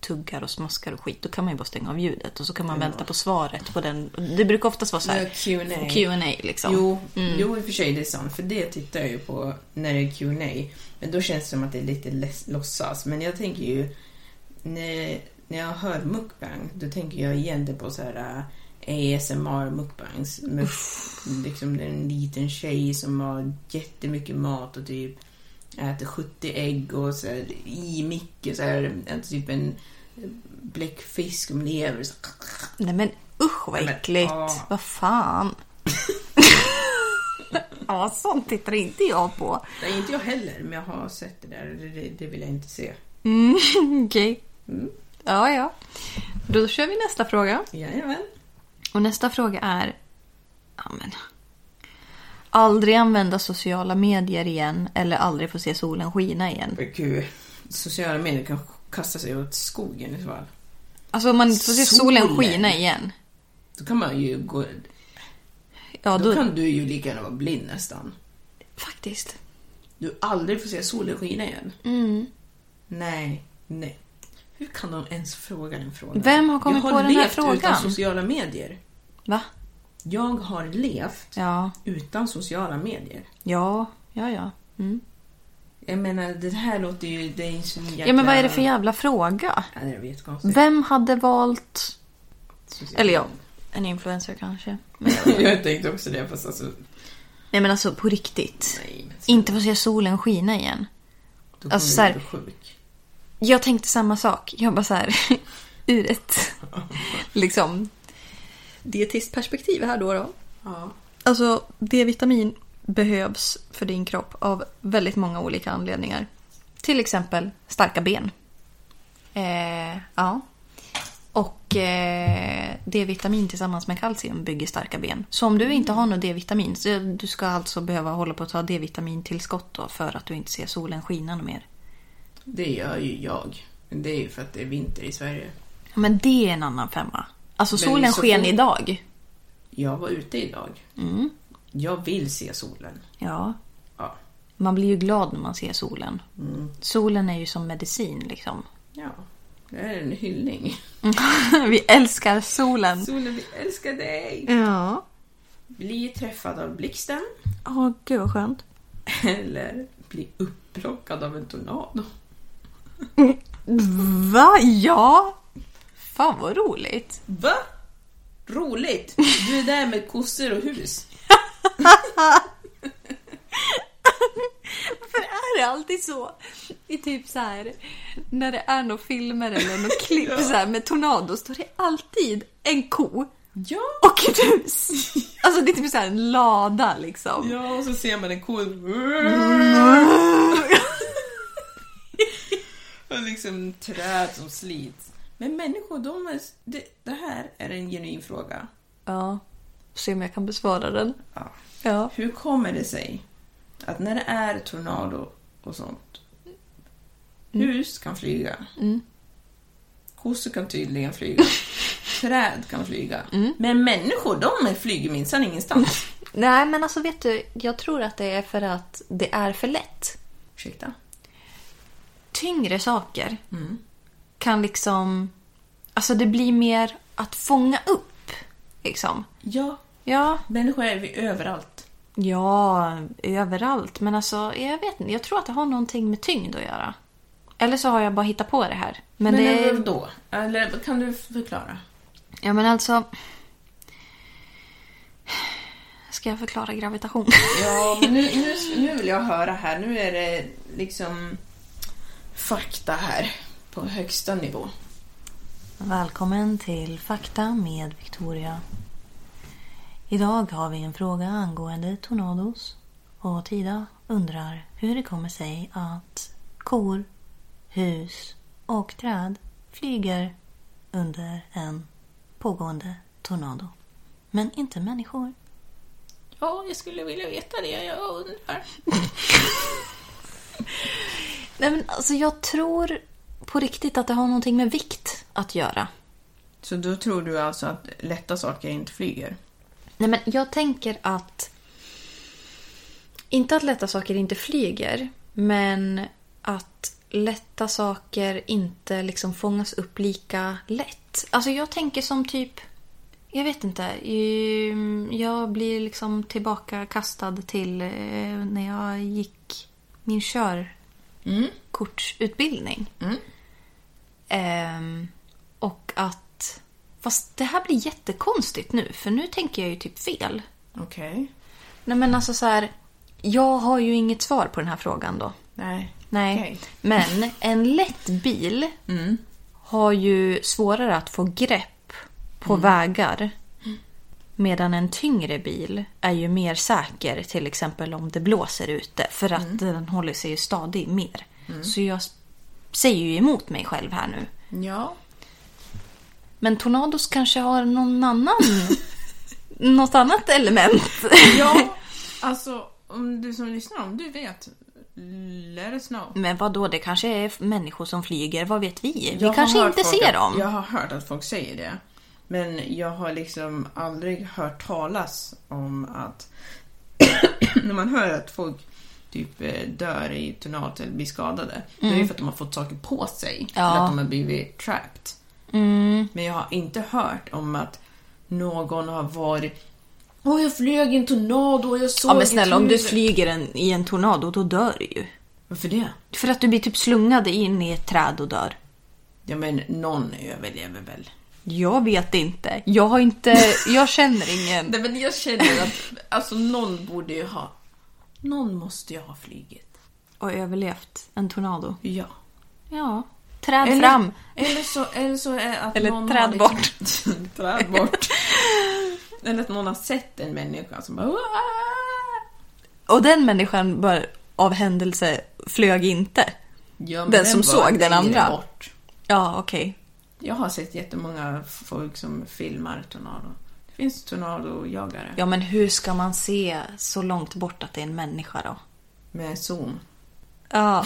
D: tuggar och smaskar och skit, då kan man ju bara stänga av ljudet och så kan man vänta på svaret på den. Det brukar oftast vara så här
C: Ja, Q&A.
D: Q&A liksom.
C: Jo, jo, i och för sig det är sant. För det tittar jag ju på när det är Q&A. Men då känns det som att det är lite läs- låtsas. Men jag tänker ju, när, när jag hör mukbang, då tänker jag igen på så här äh, ASMR mukbangs. Med liksom en liten tjej som har jättemycket mat och typ äter 70 ägg och så här, i mycket så här, äter typ en bläckfisk och lever. Så.
D: Nej men usch vad
C: Nej, men,
D: äckligt.
C: ja.
D: Vad fan. ja, sånt tittar inte jag på.
C: Nej, inte jag heller, men jag har sett det där. Det, det vill jag inte se.
D: Mm, Okej.
C: Mm.
D: Ja, ja. Då kör vi nästa fråga.
C: Jajamän.
D: Och nästa fråga är... Ja, men. Aldrig använda sociala medier igen eller aldrig få se solen skina igen.
C: Men Gud, sociala medier kan kasta sig åt skogen i så fall.
D: Alltså om man inte får se solen,
C: Solen.
D: skina igen.
C: Då kan man ju gå... Då
D: Ja, då...
C: kan du ju lika gärna vara blind nästan.
D: Faktiskt.
C: Du aldrig får se solen skina igen. Nej, nej. Hur kan de ens fråga den frågan?
D: Vem har kommit
C: jag
D: på
C: har
D: den här
C: levt utan
D: frågan?
C: sociala medier.
D: Va?
C: Jag har levt
D: Ja.
C: utan sociala medier.
D: Ja, ja, ja. Mm.
C: Jag menar, det här låter ju... Det är ju så jäkla...
D: Ja, men vad är det för jävla fråga?
C: Ja, det är jättekonstigt.
D: Vem hade valt...
C: Sociala-
D: Eller ja, en influencer kanske.
C: jag tänkte också det, fast alltså...
D: Nej men alltså på riktigt.
C: Nej, men så-
D: Inte få se solen skina igen.
C: Då kommer
D: Alltså,
C: du
D: så här-
C: bli sjuk.
D: Jag tänkte samma sak. Jag bara så här, ur ett liksom, dietistperspektiv här då. då.
C: Ja.
D: Alltså D-vitamin behövs för din kropp av väldigt många olika anledningar. Till exempel starka ben. Eh, ja. Och eh, D-vitamin tillsammans med kalcium bygger starka ben. Så om du inte har något D-vitamin, så du ska alltså behöva hålla på att ta D-vitamintillskott då för att du inte ser solen skina något mer.
C: Det gör ju jag. Men det är ju för att det är vinter i Sverige.
D: Ja, Men det är en annan femma. Alltså
C: Men
D: solen
C: så
D: sken
C: fort-
D: idag.
C: Jag var ute idag.
D: Mm.
C: Jag vill se solen.
D: Ja.
C: Ja.
D: Man blir ju glad när man ser solen. Solen är ju som medicin liksom.
C: Ja. Det här är en hyllning.
D: Mm. Vi älskar solen.
C: Solen, vi älskar dig!
D: Mm. Ja.
C: Bli träffad av blixten.
D: Åh, gud vad skönt.
C: Eller bli upplockad av en tornado.
D: Va? Ja! Fan vad roligt.
C: Va? Roligt! Du är där med kossor och hus.
D: Varför är det alltid så? I typ så här när det är några filmer eller några klipp så här med tornados då är det alltid en ko
C: Ja!
D: och ett hus. Alltså det är typ så här en lada liksom.
C: Ja, och så ser man en ko... Och liksom träd som slits. Men människor, de är... Det, det här är en genuin fråga.
D: Ja. Se om jag kan besvara den.
C: Ja.
D: Ja.
C: Hur kommer det sig att när det är tornado och sånt, hus kan flyga, kossor kan tydligen flyga, träd kan flyga, men människor de är- flyger minsann ingenstans.
D: Nej men alltså vet du, jag tror att det är för att det är för lätt.
C: Ursäkta?
D: tyngre saker kan liksom... Alltså det blir mer att fånga upp. Liksom.
C: Ja,
D: Ja.
C: människor är vi överallt.
D: Ja, överallt. Men alltså, jag vet inte. Jag tror att det har någonting med tyngd att göra. Eller så har jag bara hittat på det här. Men,
C: Men,
D: det är...
C: då? Eller kan du förklara?
D: Ja, men alltså... Ska jag förklara gravitation?
C: Ja, men nu, nu, nu vill jag höra här. Nu är det liksom fakta här på högsta nivå.
D: Välkommen till Fakta med Victoria. Idag har vi en fråga angående tornados. Och Tida undrar hur det kommer sig att kor, hus och träd flyger under en pågående tornado. Men inte människor.
C: Ja, jag skulle vilja veta det. Jag undrar.
D: Nej men alltså jag tror på riktigt att det har någonting med vikt att göra.
C: Så då tror du alltså att lätta saker inte flyger?
D: Nej, men jag tänker att... Inte att lätta saker inte flyger, men att lätta saker inte liksom fångas upp lika lätt. Alltså jag tänker som typ... Jag vet inte. ehm, Jag blir liksom tillbaka kastad till eh, när jag gick min körkortsutbildning. Ehm, och att... Fast det här blir jättekonstigt nu, för nu tänker jag ju typ fel.
C: Okej.
D: Nej men alltså så här, jag har ju inget svar på den här frågan då.
C: Nej.
D: Nej.
C: Okej. Mm.
D: Men en lätt bil har ju svårare att få grepp på
C: Mm.
D: vägar. Medan en tyngre bil är ju mer säker, till
C: Mm.
D: exempel om det blåser ute. För att den håller sig ju stadig mer. Så jag s- säger ju emot mig själv här nu.
C: Ja.
D: Men Tornados kanske har någon annan... något annat element.
C: Ja, alltså om du som lyssnar, om du vet, let us know.
D: Men vad då? det kanske är f- människor som flyger, vad vet vi? Vi
C: Jag har
D: kanske
C: hört
D: inte
C: folk
D: ser
C: att,
D: dem.
C: Jag har hört att folk säger det. Men jag har liksom aldrig hört talas om att när man hör att folk typ eh, dör i tornado eller blir skadade. Det är ju för att de har fått saker på sig.
D: Mm. Ja. Mm.
C: Eller att de har blivit trapped. Men jag har inte hört om att någon har varit Åh, jag flög i en tornado och jag såg
D: Ja men
C: ett
D: snälla, om du
C: hus."
D: flyger en, i en tornado, då dör du ju.
C: Varför det?
D: För att du blir typ slungad in i ett träd och dör.
C: Ja men någon överlever väl?
D: Jag vet inte. Jag har inte... Jag känner ingen.
C: Nej men jag känner att alltså någon borde ju ha... Någon måste ju ha flugit.
D: Och överlevt en tornado.
C: Ja.
D: Ja. Träd fram.
C: Eller så, eller så är att
D: Eller
C: någon
D: träd
C: har liksom, träd bort. Eller att någon har sett en människa som bara... "Uah!"
D: Och den människan bara av händelse flög inte.
C: Ja, men
D: Den som
C: var
D: såg den
C: längre
D: andra.
C: Bort.
D: Ja, okej.
C: Jag har sett jättemånga folk som filmar tornado. Det finns tornadojagare
D: Ja, men hur ska man se så långt bort att det är en människa då?
C: med zoom.
D: Ja.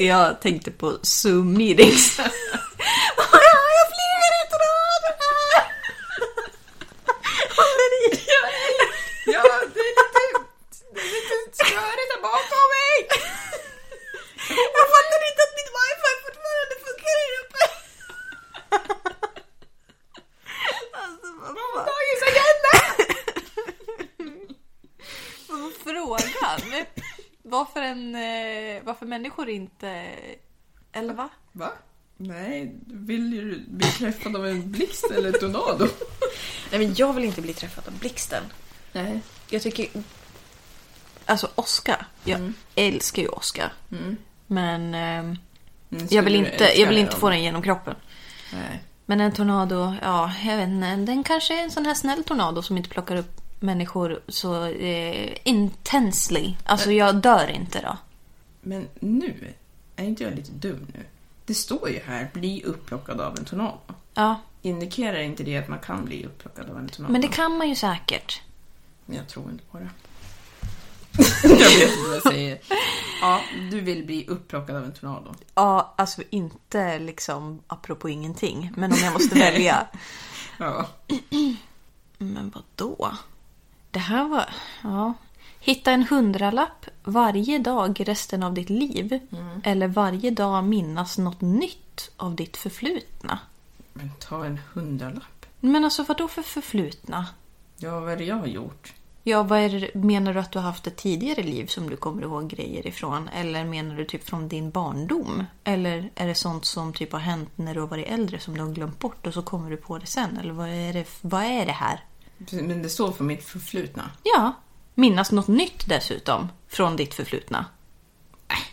D: Jag tänkte på Zoom meetings. Ah, jag flyger i tornado! Håller i!
C: Ja, det är lite, det är lite störigt där bakom mig!
D: Jag fattar inte att mitt wifi fortfarande funkar här uppe. Alltså vad fan. Dagens agenda! Frågan. Varför, en, eh, varför människor inte... Eller va?
C: Va? Nej, vill du bli träffad av en blixt eller tornado?
D: Nej men jag vill inte bli träffad av blixten.
C: Nej.
D: Jag tycker... Alltså Oscar. Jag
C: Mm.
D: älskar ju Oscar. Men eh,
C: Mm,
D: jag vill inte, jag vill inte få den genom kroppen.
C: Nej.
D: Men en tornado, ja, jag vet inte. Den kanske är en sån här snäll tornado som inte plockar upp människor så eh, intensely. Alltså jag dör inte då.
C: Men nu, är inte jag lite dum nu? Det står ju här, bli upplockad av en tornado.
D: Ja,
C: Indikerar inte det att man kan bli upplockad av en tornado?
D: men det kan man ju säkert.
C: Jag tror inte på det. jag vet inte vad jag säger. Ja, du vill bli upplockad av en tornado.
D: Ja, alltså inte liksom apropå ingenting. Men om jag måste välja.
C: Ja.
D: Men vad då? Det här var... Ja. Hitta en hundralapp varje dag resten av ditt liv. Eller varje dag minnas något nytt av ditt förflutna.
C: Men ta en hundralapp.
D: Men alltså vad då för förflutna?
C: Ja, vad är det jag har gjort?
D: Ja, vad är det, menar du att du har haft ett tidigare liv som du kommer ihåg grejer ifrån? Eller menar du typ från din barndom? Eller är det sånt som typ har hänt när du har varit äldre som du har glömt bort och så kommer du på det sen? Eller vad är det, vad är det här?
C: Men det står för mitt förflutna.
D: Ja, minnas något nytt dessutom från ditt förflutna.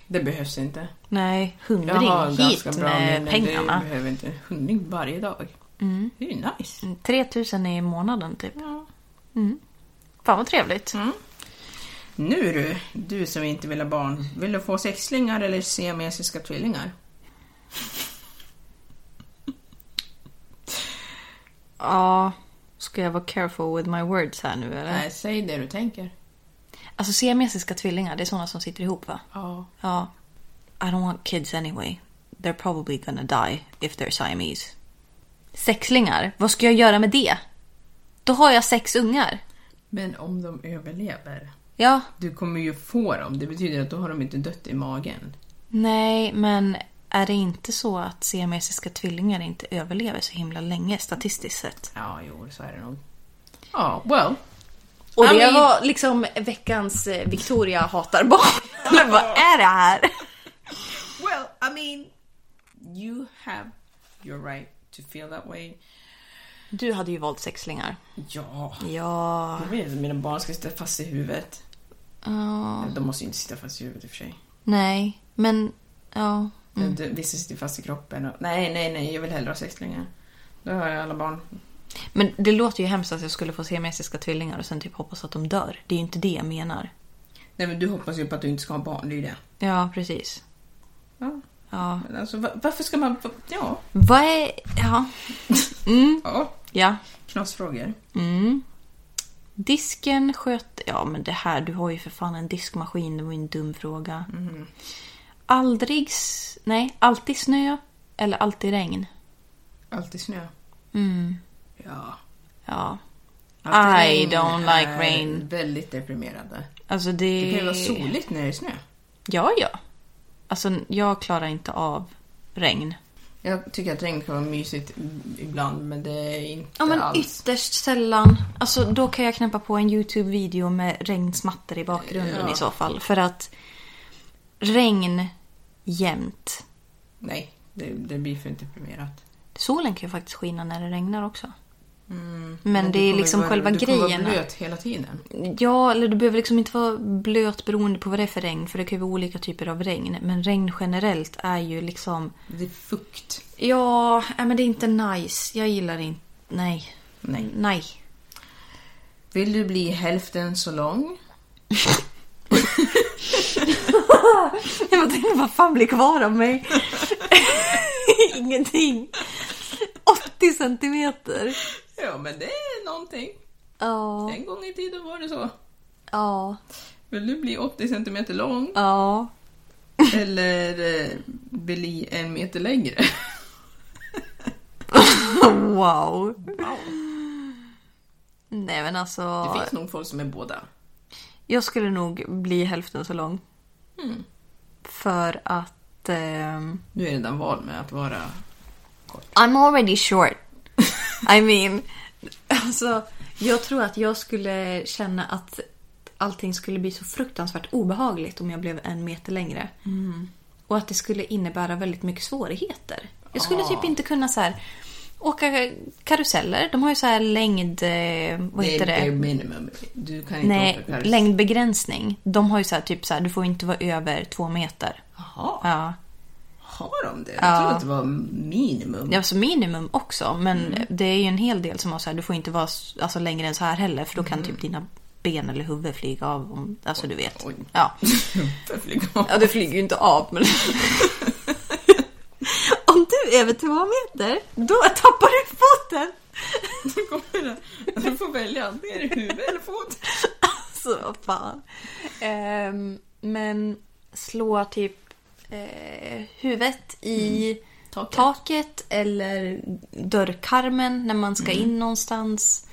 C: Det behövs inte.
D: Nej,
C: Jag
D: hundring
C: har
D: hit
C: ganska bra
D: med
C: minnen.
D: pengarna. Mm.
C: Du behöver inte en hundring varje dag. Det är ju nice.
D: 3000 i månaden typ. Mm. Fan vad trevligt.
C: Mm. Nu du, du som inte vill ha barn. Vill du få sexlingar eller siamesiska
D: Äh.
C: tvillingar?
D: Ja, ska jag vara careful with my words här nu eller?
C: Nej, säg det du tänker.
D: Alltså siamesiska tvillingar, det är såna som sitter ihop va?
C: Ja.
D: Ja. I don't want kids anyway. They're probably gonna die if they're Siamese. Sexlingar, vad ska jag göra med det? Då har jag sex ungar.
C: Men om de överlever?
D: Ja,
C: Du kommer ju få dem. Det betyder att då har de inte dött i magen.
D: nej, men är det inte så att siamesiska tvillingar inte överlever så himla länge statistiskt sett?
C: Ja, jo, så är det nog. Ja, well.
D: Och
C: Ja,
D: det
C: men-
D: var liksom veckans eh, Victoria hatar barn. Eller vad är det här?
C: Well, I mean, you have your right to feel that way.
D: Du hade ju valt sexlingar.
C: Ja.
D: Ja.
C: Jag vet att mina barn ska sitta fast i huvudet. De måste ju inte sitta fast i huvudet i och för sig.
D: Nej, men ja.
C: Det- Vissa sitter fast i kroppen. Och... Nej, nej, nej, jag vill hellre ha sexlingar. Då har jag alla barn.
D: Men det låter ju hemskt att jag skulle få siamesiska tvillingar och sen typ hoppas att de dör. Det är ju inte det jag menar.
C: Nej, men du hoppas ju på att du inte ska ha barn, det är ju det.
D: Ja, precis.
C: Ja,
D: Ja.
C: Men alltså, va- varför ska man... va- Ja,
D: Vad är... Ja. Mm.
C: ja.
D: Ja.
C: knasfrågor.
D: Disken sköt... Ja, men det här. Du har ju för fan en diskmaskin. Det var ju en dum fråga. Aldrig... s- Nej, alltid snö. Eller alltid regn.
C: Alltid snö.
D: Mm.
C: Ja.
D: Ja.
C: Alltid
D: I
C: regn
D: don't like
C: är
D: rain.
C: Väldigt deprimerande.
D: Alltså det...
C: Det kan ju vara soligt när det är snö.
D: Ja, ja. Alltså, jag klarar inte av regn.
C: Jag tycker att regn kan vara mysigt i- ibland men det är inte
D: Ja, men
C: alls...
D: ytterst sällan. Alltså, då kan jag knäppa på en YouTube-video med regnsmattor i bakgrunden
C: Ja.
D: i så fall. För att regn jämt.
C: Nej, det, det blir för deprimerat.
D: Solen kan ju faktiskt skina när det regnar också. Men,
C: Mm. du
D: det är
C: kommer
D: liksom
C: vara-
D: själva
C: Du kommer
D: grejen.
C: vara blöt hela tiden.
D: Ja, eller du behöver liksom inte vara blöt beroende på vad det är för regn. För det kan ju vara olika typer av regn. Men regn generellt är ju liksom...
C: Det är fukt.
D: Ja, nej, men det är inte nice. Jag gillar inte... Nej.
C: Nej.
D: Nej.
C: Vill du bli hälften så lång?
D: Jag tänkte, vad fan blir kvar av mig? Ingenting. 80 centimeter.
C: Ja, men det är någonting.
D: Ja.
C: En gång i tiden var det så.
D: Ja.
C: Vill du bli 80 cm lång
D: Ja.
C: eller eh, bli en meter längre?
D: Wow. Nej men alltså.
C: Det finns nog folk som är båda.
D: Jag skulle nog bli hälften så lång.
C: Mm.
D: För att... ehm,
C: Du är redan van med att vara...
D: I'm already short. I mean, alltså, jag tror att jag skulle känna att allting skulle bli så fruktansvärt obehagligt om jag blev en meter längre. Och att det skulle innebära väldigt mycket svårigheter. Jag skulle typ inte kunna så här, åka karuseller. De har ju så här längd... eh, Vad
C: Det
D: heter
C: är bare
D: det?
C: minimum. Du kan inte
D: Nej,
C: åka karusell.
D: längdbegränsning. De har ju så här, typ så här, du får inte vara över två meter.
C: Jaha,
D: Ja.
C: har de det? Jag trodde att det var minimum.
D: Ja, Alltså minimum också, men
C: Mm.
D: det är ju en hel del som har så här, du får inte vara s- alltså, längre än så här heller för då kan typ dina ben eller huvud flyga av. Om, alltså du vet.
C: Mm. Oj.
D: Ja.
C: För flyga av.
D: ja, det flyger ju inte av men... om du är över två meter, då tappar du foten!
C: Då kommer det. Du får välja antingen i huvud eller fot.
D: Alltså vad fan. Ehm, men slå typ eh, huvudet i
C: Taket.
D: taket. eller dörrkarmen när man ska in någonstans.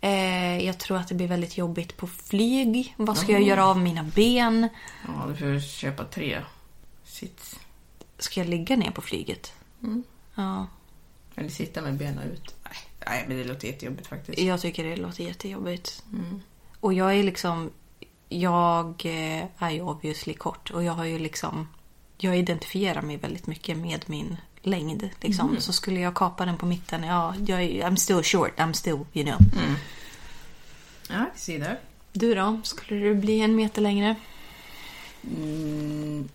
D: Eh, jag tror att det blir väldigt jobbigt på flyg. Vad ska jag göra av mina ben?
C: Ja, du får köpa tre sits.
D: Ska jag ligga ner på flyget? Ja,
C: Eller sitta med benen ut. Nej, Nej, men det låter jättejobbigt faktiskt.
D: jag tycker det låter jättejobbigt. Och jag är liksom... Jag eh, är ju obviously kort och jag har ju liksom... Jag identifierar mig väldigt mycket med min längd. Liksom.
C: Mm.
D: Så skulle jag kapa den på mitten, ja, jag, är- I'm still short, I'm still, you know.
C: Ja, se där.
D: Du då? Skulle du bli en meter längre?
C: Mm.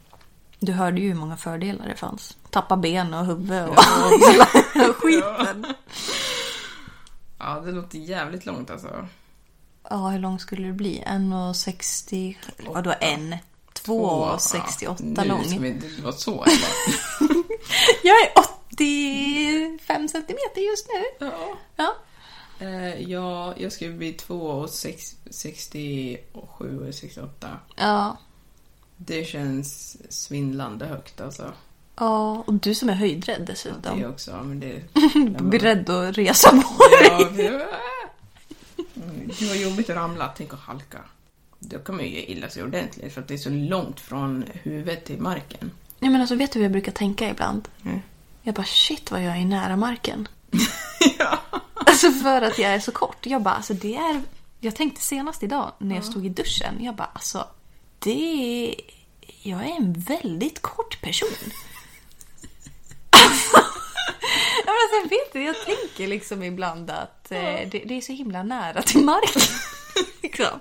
D: Du hörde ju hur många fördelar det fanns. Tappa ben och huvud och hela skiten.
C: Ja, det låter jävligt långt alltså.
D: Ja, hur lång skulle du bli? 1,60... Vadå en?
C: Åh,
D: 2,68
C: ja, Nu liksom ska
D: lång.
C: vi inte vara så eller?
D: Jag är 85 centimeter just nu.
C: ja.
D: Ja.
C: Eh, ja, jag skulle bli 2 och 6, 67 och 68.
D: Ja.
C: Det känns svindlande högt alltså.
D: ja. Och du som är höjdrädd
C: Det är
D: dessutom.
C: också, men det...
D: Beredd att resa på dig.
C: Ja, det- Mm, det var jobbigt att ramla, tänk att halka. Då kan man ju illa sig ordentligt för att det är så långt från huvudet till marken.
D: Nej men alltså vet du vad jag brukar tänka ibland? Jag bara shit vad jag är nära marken.
C: ja.
D: Alltså för att jag är så kort. Jag bara alltså det är... Jag tänkte senast idag när jag stod i duschen. Jag bara alltså det är... Jag är en väldigt kort person. Ja, men alltså, jag vet inte, jag tänker liksom ibland att eh, det, det är så himla nära till marken. liksom.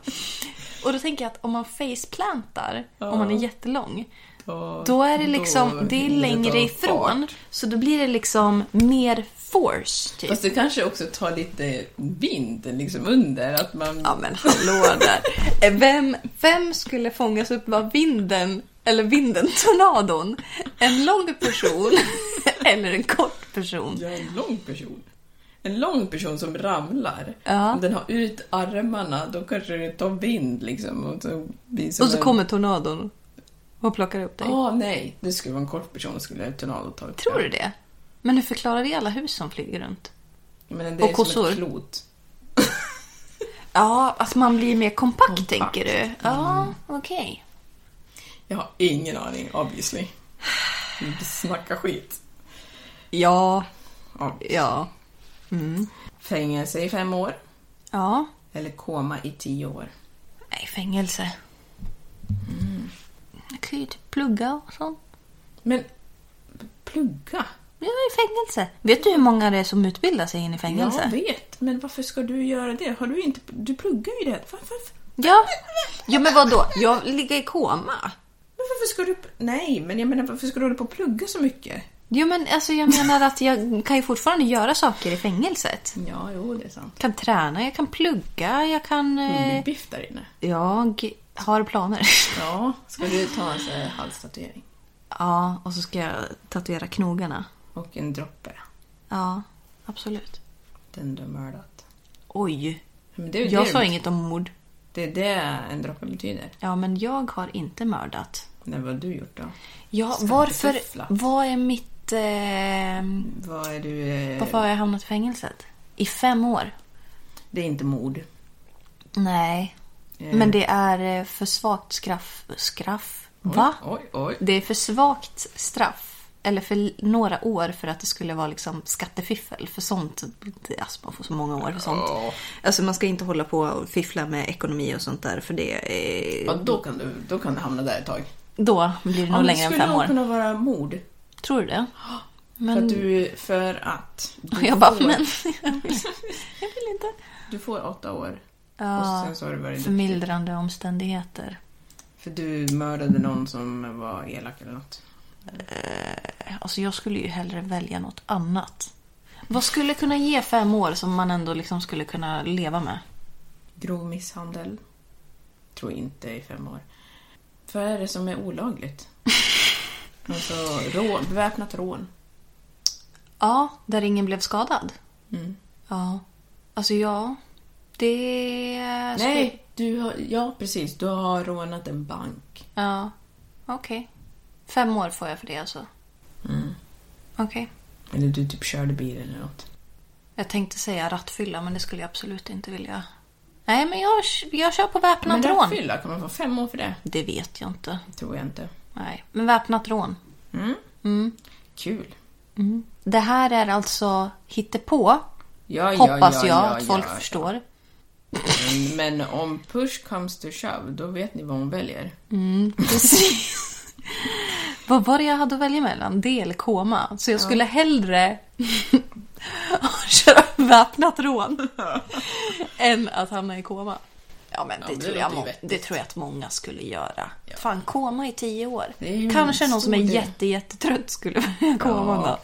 D: Och då tänker jag att om man faceplantar, om man är jättelång,
C: Då-
D: då är det
C: då
D: liksom, det är
C: hinner det ta
D: längre ifrån.
C: fart.
D: Så då blir det liksom mer force, typ.
C: Fast det kanske också tar lite vind liksom under, att man...
D: Eh, Ja men hallå där. Vem, vem skulle fångas upp av vinden eller vinden, tornadon, en lång person eller en kort person.
C: Ja, en lång person. En lång person som ramlar.
D: Ja.
C: Om den har ut armarna, då kanske det tar vind liksom. Och så, blir det som
D: Och så
C: en-
D: kommer tornadon och plockar upp dig.
C: Ja, nej. Det skulle vara en kort person som skulle ha tornado och ta upp
D: Tror
C: den.
D: du det? Men hur förklarar vi alla hus som flyger runt?
C: Men det är
D: Och
C: och som
D: kossor?
C: ett klot.
D: Ja, att man blir mer kompakt, tänker du? Ja, Mm. okej.
C: Jag har ingen aning, obviously. Vi snackar skit.
D: Ja,
C: Obviously.
D: ja. Mm.
C: Fängelse i fem år.
D: Ja.
C: Eller koma i tio år.
D: Nej, fängelse. Mm. Jag kan ju typ plugga och sånt.
C: Men plugga?
D: Jag är i fängelse. Vet du hur många det är som utbildar sig in i fängelse?
C: Jag vet, men varför ska du göra det? Har du inte... Du pluggar ju det. Varför?
D: Ja. ja, men vad då? Jag ligger i koma.
C: Men varför ska du... Nej, men jag menar varför ska du hålla på och plugga så mycket?
D: Jo, men alltså jag menar att jag kan ju fortfarande göra saker i fängelset.
C: Ja, jo, det är sant.
D: Jag kan träna, jag kan plugga, jag kan... eh,
C: Du biff där inne.
D: Jag har planer.
C: Ja, ska du ta en sån här halstatuering?
D: Ja, och så ska jag tatuera knogarna.
C: Och en droppe.
D: Ja, absolut.
C: Den du har mördat.
D: Oj.
C: Men det är ju
D: Jag
C: det
D: sa
C: du-
D: inget om mord.
C: Det är det en droppe betyder.
D: Ja, men jag har inte mördat.
C: Nej, vad har du gjort då?
D: Ja,
C: Ska
D: varför...
C: inte fiffla.
D: Vad är mitt... Eh,
C: Vad är du... eh,
D: varför har jag hamnat i fängelset? I fem år?
C: Det är inte mord. Eh,
D: Nej. Men det är eh, för svagt straff... Straff? Va?
C: Oj, oj.
D: Det är för svagt straff. Eller för l- några år för att det skulle vara liksom skattefiffel. För sånt, alltså man får så många år för sånt. Alltså man ska inte hålla på och fiffla med ekonomi och sånt där för det är...
C: Ja, då kan du, då kan du hamna där ett tag.
D: Då blir det nog
C: men
D: längre än
C: skulle
D: fem
C: nog
D: år.
C: kunna vara mord.
D: Tror du det?
C: För
D: Men...
C: att du... För att...
D: Och
C: Du
D: jag bara,
C: får-
D: men jag vill, jag vill inte.
C: Du får åtta år.
D: Ja,
C: och sen så har du varit
D: Förmildrande omständigheter.
C: För du mördade någon som var elak eller något.
D: Alltså jag skulle ju hellre välja något annat. Vad skulle kunna ge fem år som man ändå liksom skulle kunna leva med?
C: Grov misshandel. Tror inte i fem år. Vad är det som är olagligt? alltså rån, beväpnat rån.
D: Ja, Mm. där ingen blev skadad. Ja. Alltså ja. Det...
C: Nej, du har, ja precis. Du har rånat en bank.
D: Ja. Okej. Fem år får jag för det alltså. Okej.
C: Eller du typ körde bil eller något.
D: Jag tänkte säga rattfylla men det skulle jag absolut inte vilja. Nej men jag, jag kör på väpnat
C: Men
D: rån.
C: rattfylla, kan man få fem år för det?
D: Det vet jag inte.
C: Tror jag inte.
D: Nej. Men väpnat rån.
C: Kul.
D: Det här är alltså hittepå.
C: Ja,
D: hoppas
C: ja,
D: jag
C: ja,
D: att folk
C: ja.
D: förstår.
C: Men- Men om push comes to shove, då vet ni vad hon väljer.
D: Precis. Vad var det jag hade att välja mellan? Det eller koma? Så jag skulle hellre köra väpnat rån än att hamna i koma. Ja men det,
C: men det
D: tror, jag
C: låter ju
D: må-
C: vettigt.
D: det tror jag att många skulle göra. Fan, koma i tio år.
C: Det är ju
D: Kanske
C: en
D: någon som är
C: stor del.
D: jätte, jättetrött skulle välja koman då.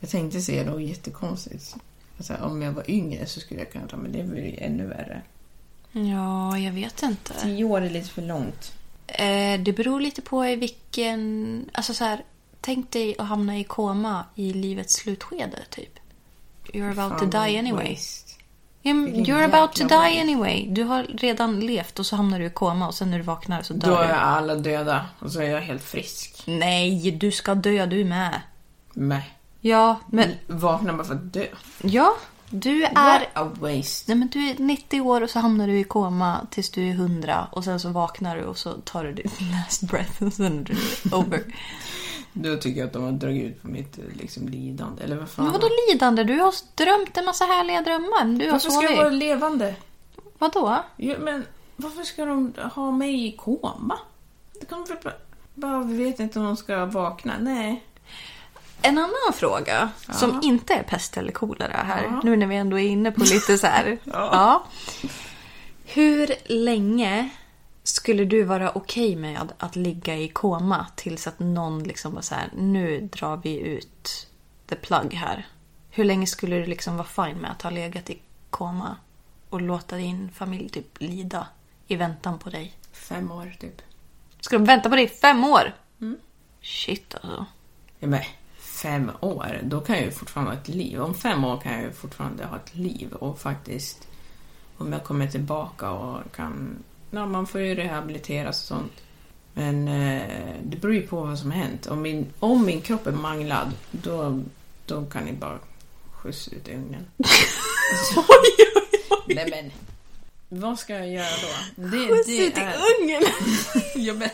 C: Jag tänkte säga något jättekonstigt. Alltså, om jag var yngre så skulle jag kunna ta, men det blir ju ännu värre.
D: Ja, jag vet inte.
C: Tio år är lite för långt.
D: Eh, det beror lite på i vilken... Alltså så här, tänk dig att hamna i koma i livets slutskede, typ. You're about to die anyway. Ja, men
C: Vilken
D: You're about to
C: jäkla
D: die
C: waste.
D: anyway. Du har redan levt och så hamnar du i koma och sen när du vaknar så dör
C: Då
D: du.
C: är alla döda och så är jag helt frisk.
D: Nej, du ska dö du med.
C: Mäh.
D: Ja, men...
C: Vaknar bara för att dö.
D: Ja, du är...
C: What a waste.
D: Nej, men du är 90 år och så hamnar du i koma tills du är 100 och sen så vaknar du och så tar du din last breath och sen är du over.
C: Då tycker jag att de har dragit ut på mitt eh, liksom, lidande. Eller vad fan.
D: Men vadå lidande? Du har drömt en massa härliga drömmar. Du har
C: varför ska jag
D: sovit.
C: vara levande?
D: Vadå?
C: Ja, men varför ska de ha mig i koma? Det kommer väl bara- bara, vi vet inte om de ska vakna. Nej.
D: En annan fråga som inte är pest eller kolera här, nu när vi ändå är inne på lite så här. ja. Hur länge skulle du vara okej med att ligga i koma tills att någon liksom var så här, nu drar vi ut the plug här. Hur länge skulle du liksom vara fine med att ha legat i koma och låta din familj typ lida i väntan på dig?
C: Fem år typ.
D: Ska de vänta på det i fem år? Shit alltså.
C: Ja, men fem år, då kan jag ju fortfarande ha ett liv. Om fem år kan jag ju fortfarande ha ett liv och faktiskt om jag kommer tillbaka och kan... Ja, man får ju rehabiliteras och sånt. Men eh, det beror ju på vad som har hänt. Om min, om min kropp är manglad, då, då kan ni bara skjuts ut i ugnen. Nej men, vad ska jag göra då? Det, det, är,
D: ungen!
C: ja, men,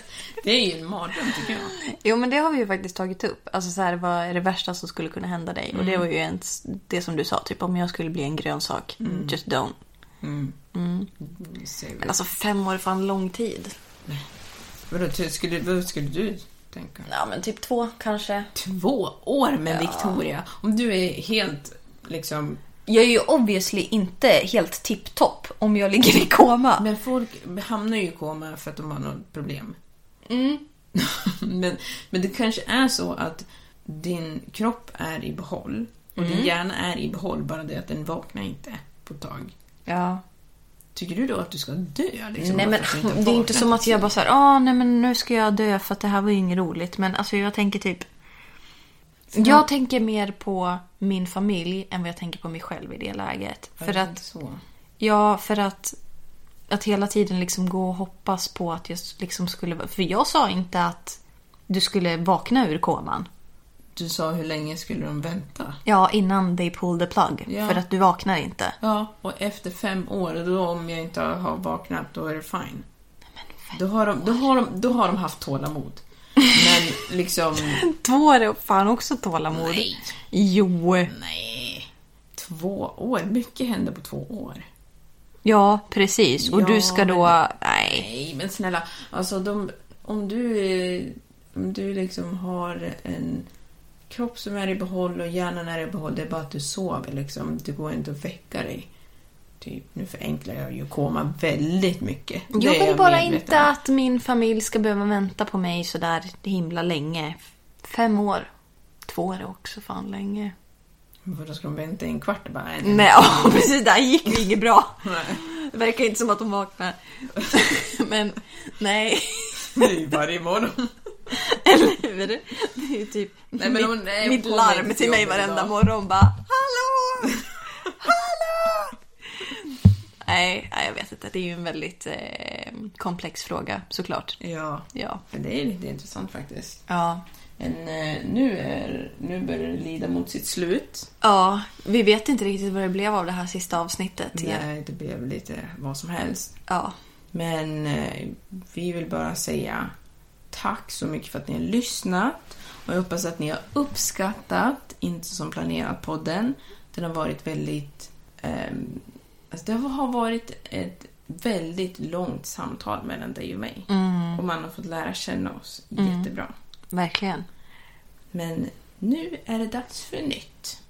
C: det är ju en mardröm tycker jag.
D: Jo men det har vi ju faktiskt tagit upp. Alltså så här, vad är det värsta som skulle kunna hända dig? Och det var ju ens det som du sa, typ om jag skulle bli en grönsak. Just don't.
C: Vi ser väl.
D: Men alltså fem år är fan lång tid.
C: Vadå, ty- skulle, vad skulle du tänka?
D: Ja men typ två kanske.
C: Två år med Victoria? Om du är helt liksom...
E: Jag är ju obviously inte helt tipptopp om jag ligger i koma.
C: Men folk hamnar ju i koma för att de har något problem.
D: Mm.
C: men, men det kanske är så att din kropp är i behåll och
D: Mm.
C: din hjärna är i behåll, bara det att den vaknar inte på ett tag.
D: Ja.
C: Tycker du då att du ska dö? Liksom,
D: Nej
C: bara
D: men
C: för att du har
D: det är ju inte
C: vaknat?
D: som att jag bara såhär, ah nej men nu ska jag dö för att det här var ju inget roligt. Men alltså jag tänker typ... Jag tänker mer på min familj än vad jag tänker på mig själv i det läget.
C: Ja,
D: För
C: det är
D: att
C: Så.
D: Ja, för att, att hela tiden liksom gå och hoppas på att jag liksom skulle... vara- För jag sa inte att du skulle vakna ur koman.
C: Du sa hur länge skulle de vänta?
D: Ja, innan they pull the plug.
C: Ja.
D: För att du vaknar inte.
C: Ja, och efter fem år, då om jag inte har vaknat, då är det fine. Då har de, då har de, då har de haft tålamod. Men liksom...
D: Två år är fan också tålamod.
C: Nej.
D: Jo.
C: Nej. Två år? Mycket händer på två år.
D: Ja, precis. Och
C: Ja,
D: du ska då...
C: men-
D: Nej.
C: Nej, men snälla. Alltså, de, om du eh, om du liksom har en kropp som är i behåll och hjärnan är i behåll, det är bara att du sover liksom. Det går inte att väcka dig. Typ, nu förenklar jag ju koma väldigt mycket. Det
D: Jag
C: är
D: vill bara
C: medveten
D: inte
C: om.
D: att min familj ska behöva vänta på mig så där himla länge. Fem år. Två år är också fan länge.
C: För då ska de vänta i en kvart och bara... Nej, nej,
D: Nej, ja, precis. Där gick det inget bra.
C: Nej.
D: Det verkar inte som att de vaknar. Men nej,
C: det är ju varje morgon.
D: eller hur? Det är ju typ
C: Nej, men hon är
D: mitt, mitt
C: på
D: larm
C: väg
D: till mig
C: jobbet
D: varenda
C: idag.
D: morgon. Bara hallå! Hallå! Nej, nej, jag vet inte. Det är ju en väldigt eh, komplex fråga såklart.
C: Ja.
D: Ja.
C: Men det är lite intressant faktiskt.
D: Ja.
C: Men eh, nu, är, nu börjar det lida mot sitt slut.
D: ja, vi vet inte riktigt vad det blev av det här sista avsnittet.
C: Nej, det blev lite vad som helst.
D: Ja.
C: Men eh, vi vill bara säga tack så mycket för att ni har lyssnat. Och jag hoppas att ni har uppskattat Inte som planerat podden. Den har varit väldigt... ehm, alltså det har varit ett väldigt långt samtal mellan dig och mig. Och man har fått lära känna oss jättebra.
D: verkligen.
C: Men nu är det dags för nytt.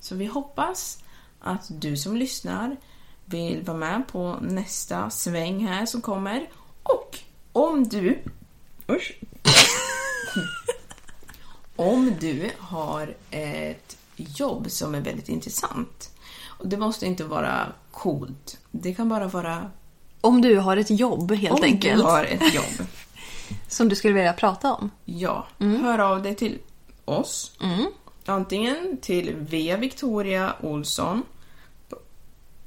C: Så vi hoppas att du som lyssnar vill vara med på nästa sväng här som kommer. Och om du... Usch. om du har ett jobb som är väldigt intressant. Och det måste inte vara coolt. Det kan bara vara
D: Om du har ett jobb helt
C: om
D: enkelt
C: du har ett jobb.
D: som du skulle vilja prata om.
C: Ja, hör av dig till oss. Antingen till V. Victoria Olsson.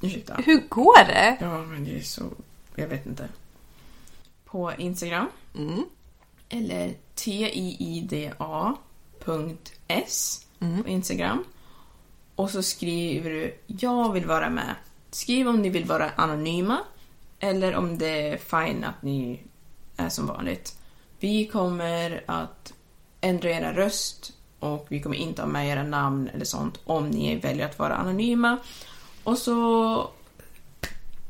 C: Ursäkta.
D: Hur går det?
C: Ja, men det är så... Jag vet inte. På Instagram. Eller tiida.s på Instagram. Och så skriver du “Jag vill vara med”. Skriv om ni vill vara anonyma eller om det är fine att ni är som vanligt. Vi kommer att ändra era röst och vi kommer inte ha med era namn eller sånt om ni väljer att vara anonyma. Och så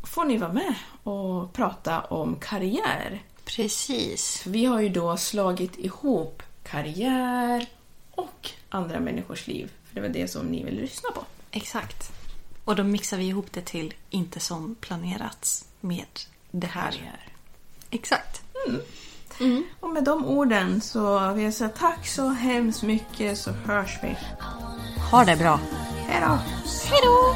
C: får ni vara med och prata om karriär.
D: Precis.
C: Vi har ju då slagit ihop karriär och andra människors liv. För det var det som ni ville lyssna på.
D: Exakt. Och då mixar vi ihop det till inte som planerats med det här. Exakt.
C: Mm. Och med de orden så vill jag säga tack så hemskt mycket så hörs vi.
D: Ha det bra.
C: Hej då!